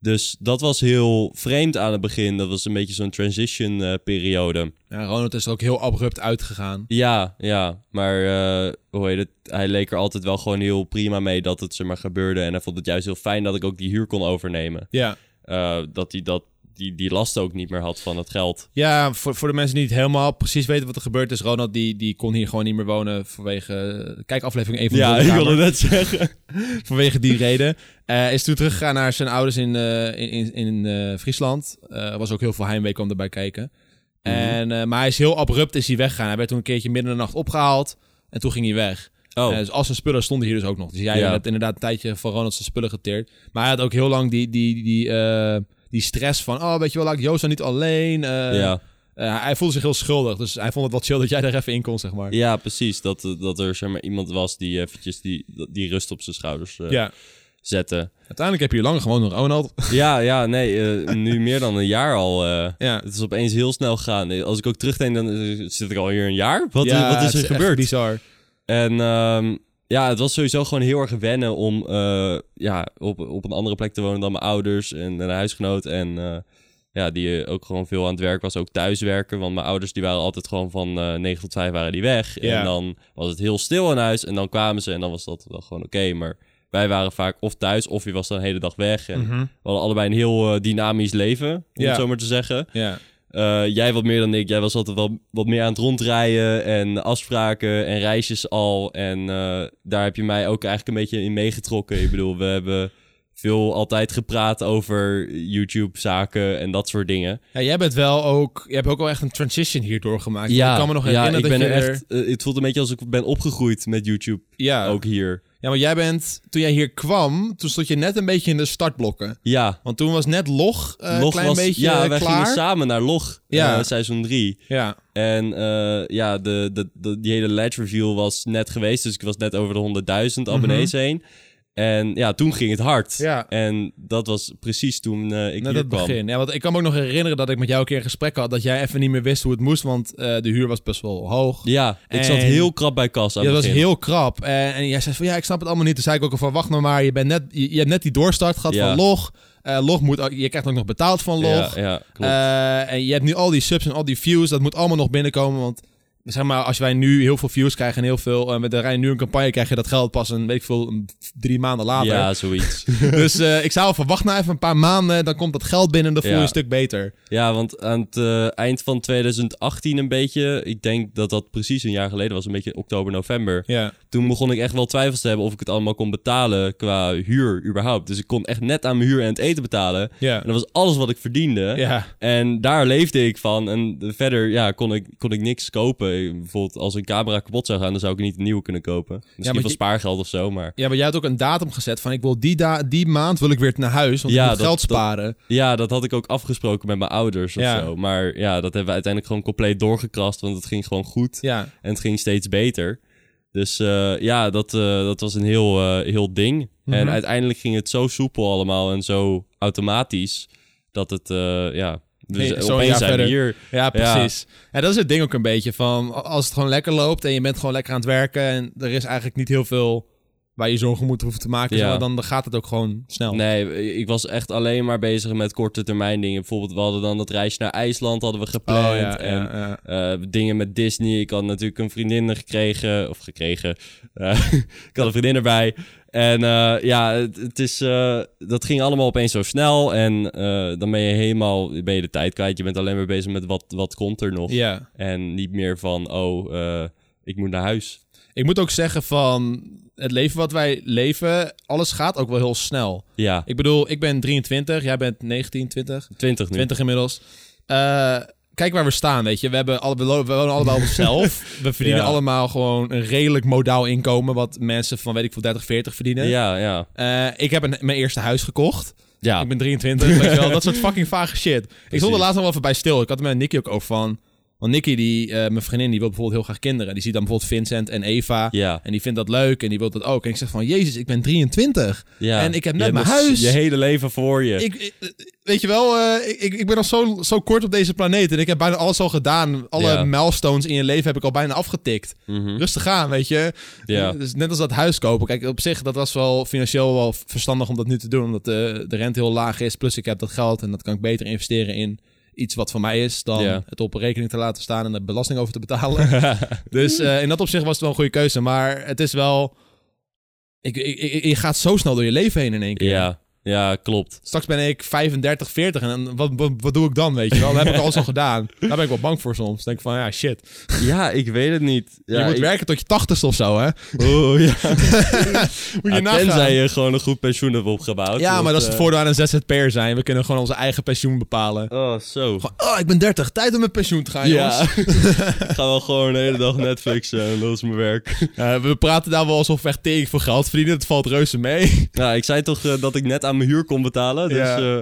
Speaker 2: Dus dat was heel vreemd aan het begin. Dat was een beetje zo'n transition eh, periode.
Speaker 1: Ja, Ronald is er ook heel abrupt uitgegaan.
Speaker 2: Ja, ja. Maar eh, hoe heet het? Hij leek er altijd wel gewoon heel prima mee dat het zeg maar gebeurde. En hij vond het juist heel fijn dat ik ook die huur kon overnemen.
Speaker 1: Ja,
Speaker 2: Eh, dat hij dat, die, die last ook niet meer had van het geld.
Speaker 1: ja voor, voor de mensen die niet helemaal precies weten wat er gebeurd is. Ronald die, die kon hier gewoon niet meer wonen vanwege... eh, Kijk aflevering 1 van
Speaker 2: Ja,
Speaker 1: de
Speaker 2: ik
Speaker 1: Kamer.
Speaker 2: wilde net zeggen.
Speaker 1: Vanwege die reden. Eh, is toen teruggegaan naar zijn ouders in, eh, in, in, in, eh, Friesland. Eh was ook heel veel heimwee kwam erbij kijken.
Speaker 2: Mhm.
Speaker 1: En, eh, maar hij is heel abrupt is hij weggegaan. Hij werd toen een keertje midden in de nacht opgehaald. En toen ging hij weg.
Speaker 2: Oh,
Speaker 1: Eh, dus als zijn spullen stonden hier dus ook nog. Dus jij
Speaker 2: Ja.
Speaker 1: hebt inderdaad een tijdje van Ronald zijn spullen geteerd. Maar hij had ook heel lang die, die, die, eh, die stress van... Oh, weet je wel, laat ik Joost dan niet alleen. Eh,
Speaker 2: ja.
Speaker 1: eh, hij voelde zich heel schuldig. Dus hij vond het wat chill dat jij er even in kon, zeg maar.
Speaker 2: ja, precies. Dat, eh, dat er zeg maar, iemand was die eventjes die, die rust op zijn schouders eh,
Speaker 1: Ja.
Speaker 2: zette.
Speaker 1: Uiteindelijk heb je hier lang gewoond met Ronald.
Speaker 2: Ja, ja, nee. eh, nu meer dan een jaar al. eh,
Speaker 1: ja.
Speaker 2: het is opeens heel snel gegaan. Als ik ook terugdenk, dan eh, zit ik al hier een jaar. Wat,
Speaker 1: Ja,
Speaker 2: wat
Speaker 1: het
Speaker 2: is er
Speaker 1: echt
Speaker 2: gebeurd?
Speaker 1: bizar.
Speaker 2: En ehm, ja, het was sowieso gewoon heel erg wennen om eh, ja, op, op een andere plek te wonen dan mijn ouders en een huisgenoot. En eh, ja, die eh, ook gewoon veel aan het werk was, ook thuiswerken. Want mijn ouders die waren altijd gewoon van eh 9 tot 5 waren die weg.
Speaker 1: Ja.
Speaker 2: En dan was het heel stil in huis en dan kwamen ze en dan was dat wel gewoon oké. Maar wij waren vaak of thuis of je was dan de hele dag weg. En
Speaker 1: Mhm.
Speaker 2: we hadden allebei een heel eh, dynamisch leven, om
Speaker 1: Ja.
Speaker 2: het zo maar te zeggen.
Speaker 1: Ja.
Speaker 2: Eh, jij wat meer dan ik. Jij was altijd wel wat meer aan het rondrijden en afspraken en reisjes al. En eh, daar heb je mij ook eigenlijk een beetje in meegetrokken. Ik bedoel, we hebben veel altijd gepraat over YouTube-zaken en dat soort dingen.
Speaker 1: ja, jij bent wel ook... Je hebt ook wel echt een transition hierdoor gemaakt. ik kan me nog
Speaker 2: ja,
Speaker 1: herinneren
Speaker 2: ik
Speaker 1: dat
Speaker 2: ben
Speaker 1: je
Speaker 2: er
Speaker 1: er-
Speaker 2: echt. eh, het voelt een beetje alsof ik ben opgegroeid met YouTube,
Speaker 1: Ja.
Speaker 2: ook hier.
Speaker 1: ja, maar jij bent... Toen jij hier kwam, toen stond je net een beetje in de startblokken.
Speaker 2: Ja.
Speaker 1: Want toen was net Log eh, een
Speaker 2: Log
Speaker 1: klein
Speaker 2: was,
Speaker 1: beetje
Speaker 2: ja,
Speaker 1: eh,
Speaker 2: wij
Speaker 1: klaar.
Speaker 2: gingen samen naar Log,
Speaker 1: Ja.
Speaker 2: eh, seizoen 3.
Speaker 1: ja,
Speaker 2: En eh, ja, de, de, de, die hele ledge review was net geweest. Dus ik was net over de 100.000 abonnees heen. En ja, toen ging het hard.
Speaker 1: Mhm. Ja.
Speaker 2: En dat was precies toen eh, ik
Speaker 1: net
Speaker 2: hier
Speaker 1: het
Speaker 2: kwam.
Speaker 1: begin. Ja, want ik kan me ook nog herinneren dat ik met jou een keer een gesprek had... dat jij even niet meer wist hoe het moest, want eh, de huur was best wel hoog.
Speaker 2: Ja, ik zat
Speaker 1: En-
Speaker 2: heel krap bij kas aan
Speaker 1: Ja,
Speaker 2: het
Speaker 1: dat was
Speaker 2: begin.
Speaker 1: heel krap. En, en jij zei van ja, ik snap het allemaal niet. Toen zei ik ook al van wacht nou maar, je, bent net, je, je hebt net die doorstart gehad
Speaker 2: Ja.
Speaker 1: van log. Eh, log moet, ook- je krijgt ook nog betaald van log.
Speaker 2: Ja, ja, klopt.
Speaker 1: Eh, en je hebt nu al die subs en al die views. Dat moet allemaal nog binnenkomen. Want zeg maar, als wij nu heel veel views krijgen en heel veel. En we draaien nu een campagne, krijg je dat geld pas een weet ik veel, een- drie maanden later. <laughs>
Speaker 2: ja, zoiets.
Speaker 1: Dus eh, ik zou al van wacht nou even een paar maanden. Dan komt dat geld binnen. Dan voel je
Speaker 2: Ja.
Speaker 1: een stuk beter.
Speaker 2: ja, want aan het eh, eind van 2018 een beetje... Ik denk dat dat precies een jaar geleden was. Een beetje oktober, november.
Speaker 1: Ja.
Speaker 2: Toen begon ik echt wel twijfels te hebben of ik het allemaal kon betalen qua huur überhaupt. Dus ik kon echt net aan mijn huur en het eten betalen.
Speaker 1: Ja.
Speaker 2: En dat was alles wat ik verdiende.
Speaker 1: Ja.
Speaker 2: En daar leefde ik van. En verder ja, kon, ik, kon ik niks kopen. Ik- Bijvoorbeeld als een camera kapot zou gaan, dan zou ik niet een nieuwe kunnen kopen. Misschien
Speaker 1: maar
Speaker 2: van
Speaker 1: je-
Speaker 2: spaargeld of zo, maar...
Speaker 1: Ja, maar jij had ook een datum gezet van ik wil die, da die maand wil ik weer naar huis, want
Speaker 2: Ja,
Speaker 1: ik moet
Speaker 2: dat-
Speaker 1: geld
Speaker 2: dat-
Speaker 1: sparen.
Speaker 2: Ja, dat had ik ook afgesproken met mijn ouders of
Speaker 1: Ja.
Speaker 2: zo. Maar ja, dat hebben we uiteindelijk gewoon compleet doorgekrast, want het ging gewoon goed.
Speaker 1: Ja.
Speaker 2: En het ging steeds beter. Dus eh, ja, dat, eh, dat was een heel, eh, heel ding.
Speaker 1: Mhm.
Speaker 2: En uiteindelijk ging het zo soepel allemaal en zo automatisch, dat het, eh, ja... Dus
Speaker 1: Hey, zo'n jaar
Speaker 2: opeens zijn we
Speaker 1: verder.
Speaker 2: hier.
Speaker 1: Ja,
Speaker 2: Ja.
Speaker 1: precies. En dat is het ding ook een beetje van a- als het gewoon lekker loopt en je bent gewoon lekker aan het werken en er is eigenlijk niet heel veel waar je zorgen moet hoeven te maken,
Speaker 2: Ja.
Speaker 1: zeg maar, dan, dan gaat het ook gewoon snel.
Speaker 2: Nee, ik was echt alleen maar bezig met korte termijn dingen. Bijvoorbeeld, we hadden dan dat reisje naar IJsland hadden we gepland. en
Speaker 1: Oh, ja.
Speaker 2: eh, dingen met Disney. Ik had natuurlijk een vriendin gekregen. Of gekregen. Eh, <laughs> ik had een vriendin erbij. En eh, ja, het, het is, eh, dat ging allemaal opeens zo snel. En eh, dan ben je helemaal ben je de tijd kwijt. Je bent alleen maar bezig met wat, wat komt er nog.
Speaker 1: Ja.
Speaker 2: En niet meer van, oh, eh, ik moet naar huis.
Speaker 1: Ik moet ook zeggen van het leven wat wij leven, alles gaat ook wel heel snel.
Speaker 2: Ja,
Speaker 1: Ik bedoel, ik ben 23, jij bent 19, 20,
Speaker 2: 20 nu.
Speaker 1: 20 inmiddels. Eh, kijk waar we staan, weet je. We, hebben alle, we lo- we wonen
Speaker 2: <laughs>
Speaker 1: allemaal op onszelf. We verdienen
Speaker 2: Ja.
Speaker 1: allemaal gewoon een redelijk modaal inkomen... wat mensen van, weet ik veel, 30, 40 verdienen.
Speaker 2: Ja, ja.
Speaker 1: Eh, ik heb een, mijn eerste huis gekocht.
Speaker 2: Ja,
Speaker 1: Ik ben 23, weet je
Speaker 2: <laughs>
Speaker 1: wel. Dat soort fucking vage shit. Ik stond er laatst nog wel even bij stil. Ik had het met Nicky ook over van... Want Nicky, die, eh, mijn vriendin, die wil bijvoorbeeld heel graag kinderen. Die ziet dan bijvoorbeeld Vincent en Eva.
Speaker 2: ja.
Speaker 1: En die vindt dat leuk en die wil dat ook. En ik zeg van, jezus, ik ben 23.
Speaker 2: ja.
Speaker 1: En ik heb
Speaker 2: Je
Speaker 1: net
Speaker 2: hebt
Speaker 1: mijn
Speaker 2: nog
Speaker 1: huis.
Speaker 2: Je hele leven voor je.
Speaker 1: Ik, ik- weet je wel, eh, ik, ik ben al zo, zo kort op deze planeet. En ik heb bijna alles al gedaan. Alle
Speaker 2: Ja.
Speaker 1: milestones in je leven heb ik al bijna afgetikt.
Speaker 2: Mhm.
Speaker 1: Rustig aan, weet je.
Speaker 2: Ja.
Speaker 1: Dus net als dat huis kopen. Kijk, op zich, dat was wel financieel wel verstandig om dat nu te doen. Omdat eh, de, de rente heel laag is. Plus ik heb dat geld en dat kan ik beter investeren in iets wat van mij is. Dan
Speaker 2: Ja.
Speaker 1: het op een rekening te laten staan en er belasting over te
Speaker 2: <laughs>
Speaker 1: betalen. dus eh, in dat opzicht was het wel een goede keuze. Maar het is wel... Ik, ik, ik- je gaat zo snel door je leven heen in één keer.
Speaker 2: <laughs> Ja, ja, klopt.
Speaker 1: Straks ben ik 35, 40 en dan- wat, wat, wat doe ik dan, weet je wel? Dat heb ik alles al gedaan. Daar ben ik wel bang voor soms. Denk van, <laughs> ja, shit.
Speaker 2: Ja, ik weet het niet. Ja,
Speaker 1: je moet
Speaker 2: ik-
Speaker 1: werken tot je 80ste of zo, hè?
Speaker 2: Oh, ja.
Speaker 1: Moet je
Speaker 2: Ja,
Speaker 1: nagaan.
Speaker 2: tenzij je gewoon een goed pensioen hebt opgebouwd.
Speaker 1: Ja, maar dat is het
Speaker 2: eh,
Speaker 1: voordeel aan een ZZP'er zijn. We kunnen gewoon onze eigen pensioen bepalen.
Speaker 2: Oh, zo.
Speaker 1: Gewoon, oh, ik ben 30, tijd om met pensioen te gaan, <laughs>
Speaker 2: Ja.
Speaker 1: jongens.
Speaker 2: <laughs> Ik ga wel gewoon de hele dag Netflixen en dat is mijn werk.
Speaker 1: Eh, we praten daar wel alsof we echt tegen voor geld verdienen. Het valt reuze mee.
Speaker 2: Nou, ik zei toch eh, dat ik net aan mijn huur kon betalen. Dus
Speaker 1: Ja.
Speaker 2: eh, ja,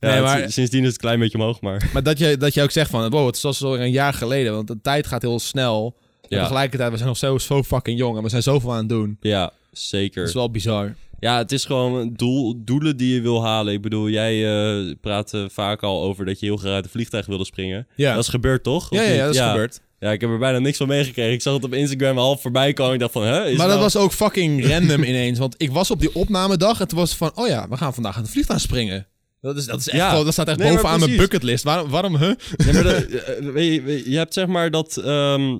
Speaker 1: Nee,
Speaker 2: het-
Speaker 1: maar-
Speaker 2: sindsdien is het een klein beetje omhoog, maar...
Speaker 1: <laughs>
Speaker 2: <laughs>
Speaker 1: maar dat je, dat je ook zegt van, wow, het is alsof alweer een jaar geleden. Want de tijd gaat heel snel. En
Speaker 2: Ja.
Speaker 1: tegelijkertijd, we zijn nog zo, zo fucking jong en we zijn zoveel aan het doen.
Speaker 2: Ja,
Speaker 1: Dat
Speaker 2: zeker.
Speaker 1: is wel bizar.
Speaker 2: Ja, het is gewoon doel, doelen die je wil halen. Ik bedoel, jij eh, praat eh, vaak al over dat je heel graag uit een vliegtuig wilde springen.
Speaker 1: Ja.
Speaker 2: Dat is gebeurd, toch? Of
Speaker 1: Ja, ja,
Speaker 2: niet?
Speaker 1: ja, dat is gebeurd.
Speaker 2: Ja, ik heb er bijna niks van meegekregen. Ik zag het op Instagram half voorbij komen. Ik dacht van, hè? Is
Speaker 1: maar
Speaker 2: nou-
Speaker 1: dat was ook fucking <laughs> random ineens. Want ik was op die opnamedag en toen was het van... Oh ja, we gaan vandaag aan het vliegtuig springen. Dat, is, dat, is echt
Speaker 2: Ja.
Speaker 1: gewoon- dat staat echt
Speaker 2: Nee, maar
Speaker 1: bovenaan mijn
Speaker 2: precies.
Speaker 1: bucketlist. Waarom, waarom huh?
Speaker 2: Nee, maar dat- eh, eh, weet je, weet je, je hebt zeg maar dat... ehm,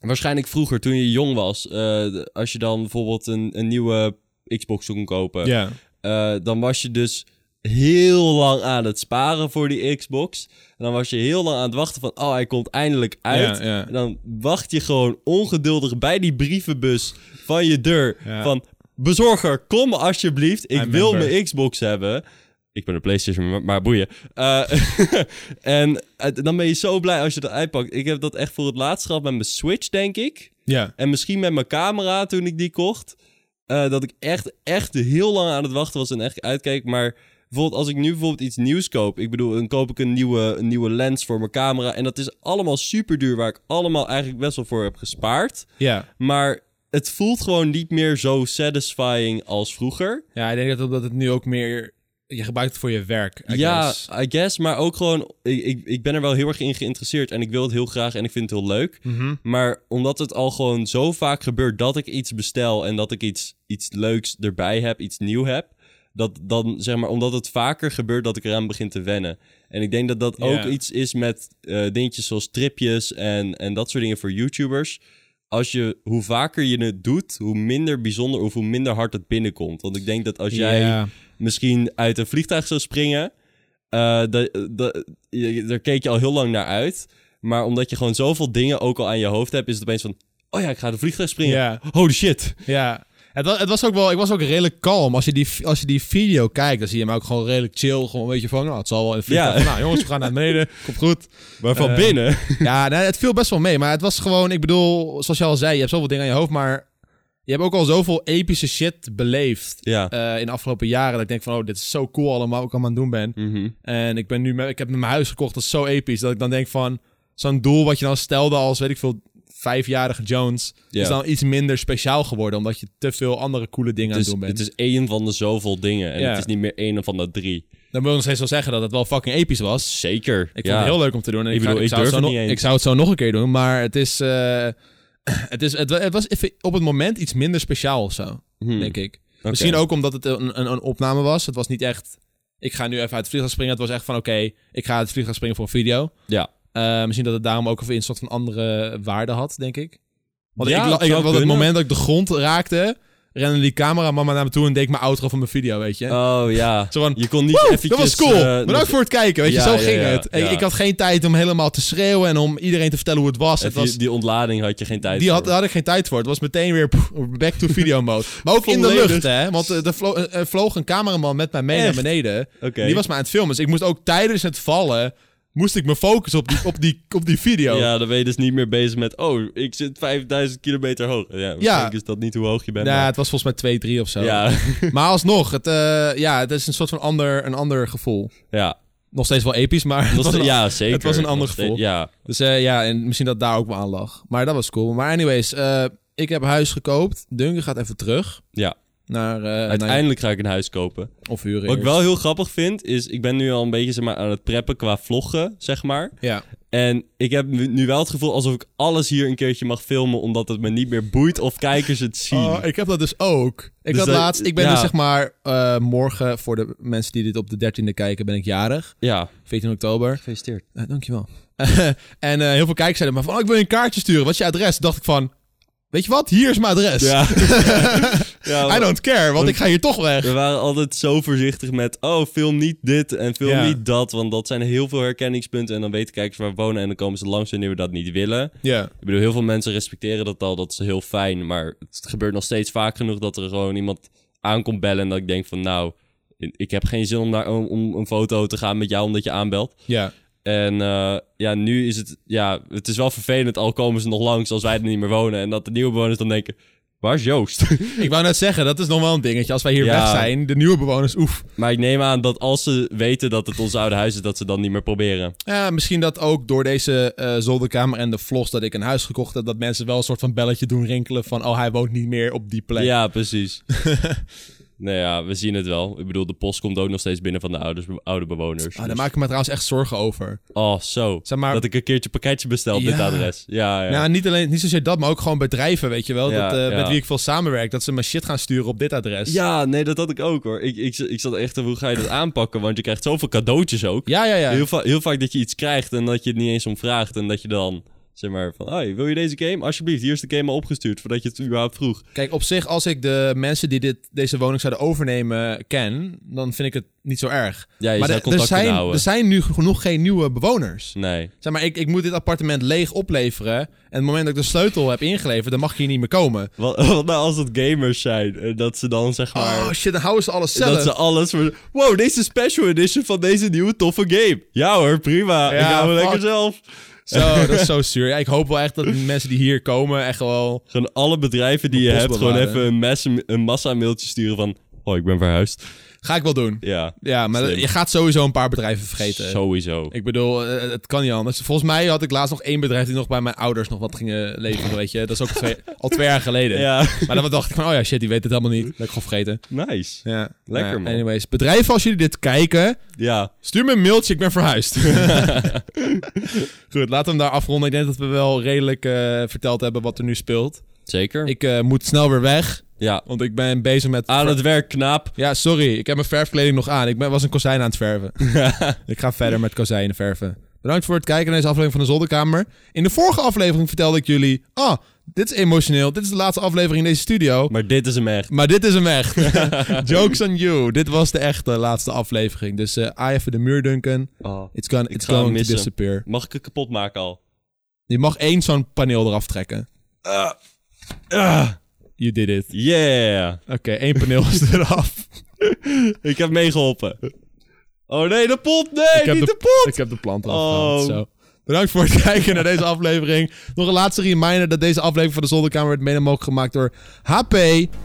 Speaker 2: waarschijnlijk vroeger, toen je jong was... eh, de- als je dan bijvoorbeeld een, een nieuwe Xbox kon kopen...
Speaker 1: Ja.
Speaker 2: eh, dan was je dus heel lang aan het sparen voor die Xbox. En dan was je heel lang aan het wachten van... Oh, hij komt eindelijk uit.
Speaker 1: Ja, ja.
Speaker 2: En dan wacht je gewoon ongeduldig bij die brievenbus van je deur.
Speaker 1: Ja.
Speaker 2: Van, bezorger, kom alsjeblieft. Ik
Speaker 1: I
Speaker 2: wil
Speaker 1: remember.
Speaker 2: mijn Xbox hebben. Ik ben een PlayStation, maar, maar boeien. Eh, <laughs> en eh, dan ben je zo blij als je dat uitpakt. Ik heb dat echt voor het laatst gehad met mijn Switch, denk ik.
Speaker 1: Ja.
Speaker 2: En misschien met mijn camera toen ik die kocht. eh, dat ik echt, echt heel lang aan het wachten was en echt uitkeek. Maar bijvoorbeeld als ik nu bijvoorbeeld iets nieuws koop. Ik bedoel, dan koop ik een nieuwe, een nieuwe lens voor mijn camera. En dat is allemaal super duur. Waar ik allemaal eigenlijk best wel voor heb gespaard.
Speaker 1: Ja.
Speaker 2: Maar het voelt gewoon niet meer zo satisfying als vroeger.
Speaker 1: Ja, ik denk dat omdat het nu ook meer... Je gebruikt het voor je werk, I
Speaker 2: ja,
Speaker 1: guess.
Speaker 2: I guess. Maar ook gewoon, ik, ik, ik ben er wel heel erg in geïnteresseerd. En ik wil het heel graag en ik vind het heel leuk.
Speaker 1: Mhm.
Speaker 2: Maar omdat het al gewoon zo vaak gebeurt dat ik iets bestel en dat ik iets, iets leuks erbij heb, iets nieuw heb. Dat dan, zeg maar, omdat het vaker gebeurt dat ik eraan begin te wennen. En ik denk dat dat
Speaker 1: Ja.
Speaker 2: ook iets is met eh, dingetjes zoals tripjes en, en dat soort dingen voor YouTubers. Als je, hoe vaker je het doet, hoe minder bijzonder of hoe minder hard het binnenkomt. Want ik denk dat als jij
Speaker 1: Ja.
Speaker 2: misschien uit een vliegtuig zou springen. eh, dat- dat- je- daar keek je al heel lang naar uit. Maar omdat je gewoon zoveel dingen ook al aan je hoofd hebt, is het opeens van... Oh ja, ik ga uit een vliegtuig springen.
Speaker 1: Ja.
Speaker 2: Holy shit.
Speaker 1: Ja. Het was, het was ook wel, ik was ook redelijk kalm. Als je, die, als je die video kijkt, dan zie je hem ook gewoon redelijk chill. Gewoon een beetje van, nou, het zal wel in het vliegtuig.
Speaker 2: Ja.
Speaker 1: Van, Nou, jongens, we gaan naar beneden. <laughs> Komt goed.
Speaker 2: Maar van
Speaker 1: Eh,
Speaker 2: binnen...
Speaker 1: Ja, nee, het viel best wel mee. Maar het was gewoon, ik bedoel, zoals je al zei, je hebt zoveel dingen aan je hoofd, maar je hebt ook al zoveel epische shit beleefd.
Speaker 2: <laughs> Ja.
Speaker 1: eh, in de afgelopen jaren. Dat ik denk van, oh, dit is zo cool allemaal, wat ik allemaal aan het doen ben.
Speaker 2: Mhm.
Speaker 1: En ik, ben nu met, ik heb mijn huis gekocht, dat is zo episch. Dat ik dan denk van, zo'n doel wat je dan stelde als, weet ik veel, vijfjarige Jones...
Speaker 2: Ja.
Speaker 1: is dan iets minder speciaal geworden. Omdat je te veel andere coole dingen aan
Speaker 2: Het,
Speaker 1: het
Speaker 2: is,
Speaker 1: doen bent.
Speaker 2: het is één van de zoveel dingen. En
Speaker 1: Ja.
Speaker 2: het is niet meer één van de drie.
Speaker 1: Dan wil ik nog steeds wel zeggen dat het wel fucking episch was.
Speaker 2: Zeker.
Speaker 1: Ik
Speaker 2: ja.
Speaker 1: vond het heel leuk om te doen. En ik,
Speaker 2: Ik bedoel,
Speaker 1: ga- ik,
Speaker 2: ik
Speaker 1: zou, het
Speaker 2: durf
Speaker 1: zo
Speaker 2: het
Speaker 1: nog- ik
Speaker 2: niet eens.
Speaker 1: zou het zo nog een keer doen. <clears throat> Maar het is... eh, het, is het, wa- het was even op het moment iets minder speciaal of zo.
Speaker 2: Hmm.
Speaker 1: denk ik.
Speaker 2: Oké.
Speaker 1: Misschien ook omdat het een, een, een opname was. Het was niet echt, ik ga nu even uit het vliegtuig springen. Het was echt van, oké, ik ga uit het vliegtuig springen voor een video.
Speaker 2: Ja.
Speaker 1: Eh, misschien dat het daarom ook een soort van andere waarde had, denk ik. Want
Speaker 2: Ja,
Speaker 1: ik, la-
Speaker 2: het
Speaker 1: ik,
Speaker 2: zou
Speaker 1: want op het
Speaker 2: kunnen.
Speaker 1: moment dat ik de grond raakte, rende die cameraman maar naar me toe en deed ik mijn outro van mijn video, weet je.
Speaker 2: Oh ja.
Speaker 1: Zo van,
Speaker 2: Je kon niet
Speaker 1: Woe,
Speaker 2: eventjes...
Speaker 1: dat was cool. nou
Speaker 2: eh,
Speaker 1: Bedankt
Speaker 2: nog-
Speaker 1: voor het kijken. Weet je,
Speaker 2: Ja,
Speaker 1: zo
Speaker 2: ja,
Speaker 1: ging
Speaker 2: ja,
Speaker 1: het. Ik-
Speaker 2: ja.
Speaker 1: Ik had geen tijd om helemaal te schreeuwen en om iedereen te vertellen hoe het was. Het
Speaker 2: even-
Speaker 1: was
Speaker 2: Die ontlading had je geen tijd
Speaker 1: die had, eh,
Speaker 2: voor.
Speaker 1: daar had ik geen tijd voor. Het was meteen weer pff, back to
Speaker 2: <laughs>
Speaker 1: video mode. Maar ook in de
Speaker 2: Volledig.
Speaker 1: lucht, hè. Want eh, er vlo- eh, er vloog een cameraman met mij mee
Speaker 2: Echt?
Speaker 1: naar beneden.
Speaker 2: Oké.
Speaker 1: Die was maar aan het filmen. Dus ik moest ook tijdens het vallen... moest ik me focussen op die, op die, op die video.
Speaker 2: Ja, dan ben je dus niet meer bezig met... Oh, ik zit 5000 kilometer hoog. Ja, waarschijnlijk is dat niet hoe hoog je bent.
Speaker 1: Nou,
Speaker 2: maar-
Speaker 1: het was volgens mij 2, 3 of zo.
Speaker 2: ja.
Speaker 1: <laughs>
Speaker 2: <laughs>
Speaker 1: Maar alsnog, het, eh, ja, het is een soort van ander, een ander gevoel.
Speaker 2: ja.
Speaker 1: Nog steeds wel episch, maar... <laughs> het
Speaker 2: <laughs> Dat was,
Speaker 1: was een-
Speaker 2: ja, zeker.
Speaker 1: het was een ander
Speaker 2: Nog steeds-
Speaker 1: gevoel.
Speaker 2: Ja.
Speaker 1: Dus eh, ja, en misschien dat daar ook wel aan lag. Maar dat was cool. Maar anyways, eh, ik heb huis gekoopt. Duncan gaat even terug.
Speaker 2: Ja.
Speaker 1: Naar, eh, naar
Speaker 2: Uiteindelijk ga ik een huis kopen.
Speaker 1: of huren.
Speaker 2: Wat ik
Speaker 1: eerst.
Speaker 2: wel heel grappig vind, is ik ben nu al een beetje zeg maar, aan het preppen qua vloggen, zeg maar.
Speaker 1: Ja.
Speaker 2: En ik heb nu nu wel het gevoel alsof ik alles hier een keertje mag filmen, omdat het me niet meer boeit of kijkers het zien.
Speaker 1: Oh, ik heb dat dus ook. Ik
Speaker 2: Dus
Speaker 1: had
Speaker 2: dat-
Speaker 1: laatst, ik ben
Speaker 2: ja.
Speaker 1: dus zeg maar eh, morgen voor de mensen die dit op de 13e kijken, ben ik jarig.
Speaker 2: Ja,
Speaker 1: 14 oktober.
Speaker 2: gefeliciteerd.
Speaker 1: Eh, dankjewel. <laughs> en eh, heel veel kijkers zeiden maar van, oh, ik wil je een kaartje sturen. Wat is je adres? Dacht ik van, weet je wat? Hier is mijn adres.
Speaker 2: Ja. ja
Speaker 1: I
Speaker 2: maar
Speaker 1: don't care, want ik ga hier toch weg.
Speaker 2: we waren altijd zo voorzichtig met, oh, film niet dit en film
Speaker 1: Ja.
Speaker 2: niet dat, want dat zijn heel veel herkenningspunten en dan weten kijkers waar we wonen en dan komen ze langs wanneer we dat niet willen.
Speaker 1: Ja.
Speaker 2: Ik bedoel, heel veel mensen respecteren dat al. Dat is heel fijn. Maar het gebeurt nog steeds vaak genoeg dat er gewoon iemand aankomt bellen. En dat ik denk van, nou, ik heb geen zin om, naar, om, om een foto te gaan met jou omdat je aanbelt.
Speaker 1: Ja.
Speaker 2: En eh, ja, nu is het, ja, het is wel vervelend. Al komen ze nog langs als wij er niet meer wonen. En dat de nieuwe bewoners dan denken, waar is Joost? <laughs>
Speaker 1: Ik wou net zeggen, dat is nog wel een dingetje. Als wij hier
Speaker 2: Ja.
Speaker 1: weg zijn, de nieuwe bewoners, oef.
Speaker 2: maar ik neem aan dat als ze weten dat het ons oude huis is, dat ze dan niet meer proberen.
Speaker 1: Ja, misschien dat ook door deze eh, zolderkamer en de vlogs dat ik een huis gekocht heb, dat mensen wel een soort van belletje doen rinkelen van, oh, hij woont niet meer op die plek. <laughs>
Speaker 2: Ja, precies. nou ja, we zien het wel. Ik bedoel, de post komt ook nog steeds binnen van de ouders, oude bewoners.
Speaker 1: Ah,
Speaker 2: Dus-
Speaker 1: daar maak ik me trouwens echt zorgen over.
Speaker 2: Oh, zo.
Speaker 1: Zeg maar-
Speaker 2: Dat ik een keertje pakketje bestel op
Speaker 1: Ah. Ja.
Speaker 2: dit adres. Ja, ja.
Speaker 1: Nou, niet, alleen, niet zozeer dat, maar ook gewoon bedrijven, weet je wel.
Speaker 2: Ja,
Speaker 1: dat, eh,
Speaker 2: ja.
Speaker 1: Met wie ik veel samenwerk, dat ze me shit gaan sturen op dit adres.
Speaker 2: ja, nee, dat had ik ook hoor. Ik, ik, ik zat echt, hoe ga <laughs> je dat aanpakken? Want je krijgt zoveel cadeautjes ook.
Speaker 1: ja, ja. ja.
Speaker 2: Heel, va- heel vaak dat je iets krijgt en dat je het niet eens om vraagt. En dat je dan, zeg maar, van, hey, wil je deze game? Alsjeblieft, hier is de game al opgestuurd voordat je het überhaupt vroeg.
Speaker 1: Kijk, op zich, als ik de mensen die dit, deze woning zouden overnemen ken, dan vind ik het niet zo erg.
Speaker 2: Ja, je
Speaker 1: maar
Speaker 2: zou
Speaker 1: er- er
Speaker 2: contact
Speaker 1: zijn,
Speaker 2: kunnen houden.
Speaker 1: er zijn nu genoeg geen nieuwe bewoners.
Speaker 2: Dus- Nee.
Speaker 1: Zeg maar, ik, ik moet dit appartement leeg opleveren. En op het moment dat ik de sleutel heb ingeleverd, dan mag ik hier niet meer komen.
Speaker 2: Wat, <laughs> wat nou als het gamers zijn? En dat ze dan, zeg maar...
Speaker 1: Oh shit, dan houden ze alles zelf.
Speaker 2: dat ze alles voor... Wow, deze special edition van deze nieuwe toffe game. Ja hoor, prima.
Speaker 1: Ja,
Speaker 2: ik hou me
Speaker 1: fuck.
Speaker 2: lekker zelf.
Speaker 1: Zo, dat is zo zuur. Ja, ik hoop wel echt dat de mensen die hier komen echt wel...
Speaker 2: Gewoon alle bedrijven die je
Speaker 1: Post
Speaker 2: hebt, gewoon
Speaker 1: bewaren.
Speaker 2: even een, massa, een massa mailtje sturen van... Oh, ik ben verhuisd.
Speaker 1: Ga ik wel doen.
Speaker 2: Ja,
Speaker 1: Ja, maar
Speaker 2: Slim.
Speaker 1: je gaat sowieso een paar bedrijven vergeten.
Speaker 2: sowieso.
Speaker 1: Ik bedoel, eh, het kan niet anders. Volgens mij had ik laatst nog één bedrijf die nog bij mijn ouders nog wat gingen leveren, weet je. Dat is ook twee, al twee jaar geleden.
Speaker 2: Ja, <laughs>
Speaker 1: Maar dan dacht ik van, oh ja, shit, die weet het helemaal niet. Dat heb ik gewoon vergeten.
Speaker 2: nice.
Speaker 1: Ja.
Speaker 2: Lekker,
Speaker 1: Nou ja,
Speaker 2: man.
Speaker 1: Anyways, bedrijven, als jullie dit kijken,
Speaker 2: Ja,
Speaker 1: stuur me een mailtje, ik ben
Speaker 2: <laughs>
Speaker 1: verhuisd. Goed, laten we hem daar afronden. Ik denk dat we wel redelijk eh, verteld hebben wat er nu speelt.
Speaker 2: zeker.
Speaker 1: Ik eh, moet snel weer weg,
Speaker 2: Ja,
Speaker 1: want ik ben bezig met...
Speaker 2: aan het werk, knaap.
Speaker 1: Ja, sorry, ik heb mijn verfkleding nog aan. Ik ben, was een kozijn aan het
Speaker 2: <laughs>
Speaker 1: verven. ik ga verder met kozijnen verven. Bedankt voor het kijken naar deze aflevering van de Zolderkamer. In de vorige aflevering vertelde ik jullie... Ah, dit is emotioneel. Dit is de laatste aflevering in deze studio.
Speaker 2: Maar dit is hem echt.
Speaker 1: Maar dit is hem
Speaker 2: <laughs>
Speaker 1: echt. <laughs> Jokes on you. Dit was de echte laatste aflevering. Dus eh aai even de muur, Duncan.
Speaker 2: Oh.
Speaker 1: It's, gone, it's
Speaker 2: ga hem
Speaker 1: going to
Speaker 2: missen.
Speaker 1: disappear.
Speaker 2: Mag ik het kapot maken al?
Speaker 1: Je mag één zo'n paneel eraf trekken.
Speaker 2: Ah,
Speaker 1: You did it.
Speaker 2: yeah.
Speaker 1: Oké, één paneel is eraf.
Speaker 2: Ik heb meegeholpen. Oh nee, de pot! Nee,
Speaker 1: Ik heb
Speaker 2: niet de,
Speaker 1: de-
Speaker 2: pot!
Speaker 1: Ik heb de plant
Speaker 2: Oh.
Speaker 1: afgehaald. Zo. Bedankt voor het <laughs> kijken naar deze aflevering. Nog een laatste reminder dat deze aflevering van de Zolderkamer werd mede mogelijk gemaakt door HP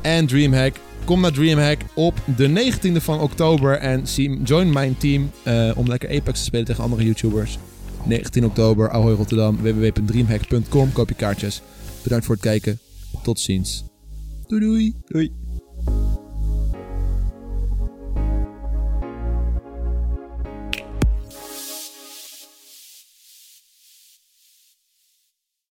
Speaker 1: en Dreamhack. Kom naar Dreamhack op de 19e van oktober en zie- join mijn team eh, om lekker Apex te spelen tegen andere YouTubers. 19 oktober, Ahoy Rotterdam, www.dreamhack.com. Koop je kaartjes. Bedankt voor het kijken. Tot ziens. Doei doei.
Speaker 2: Doei.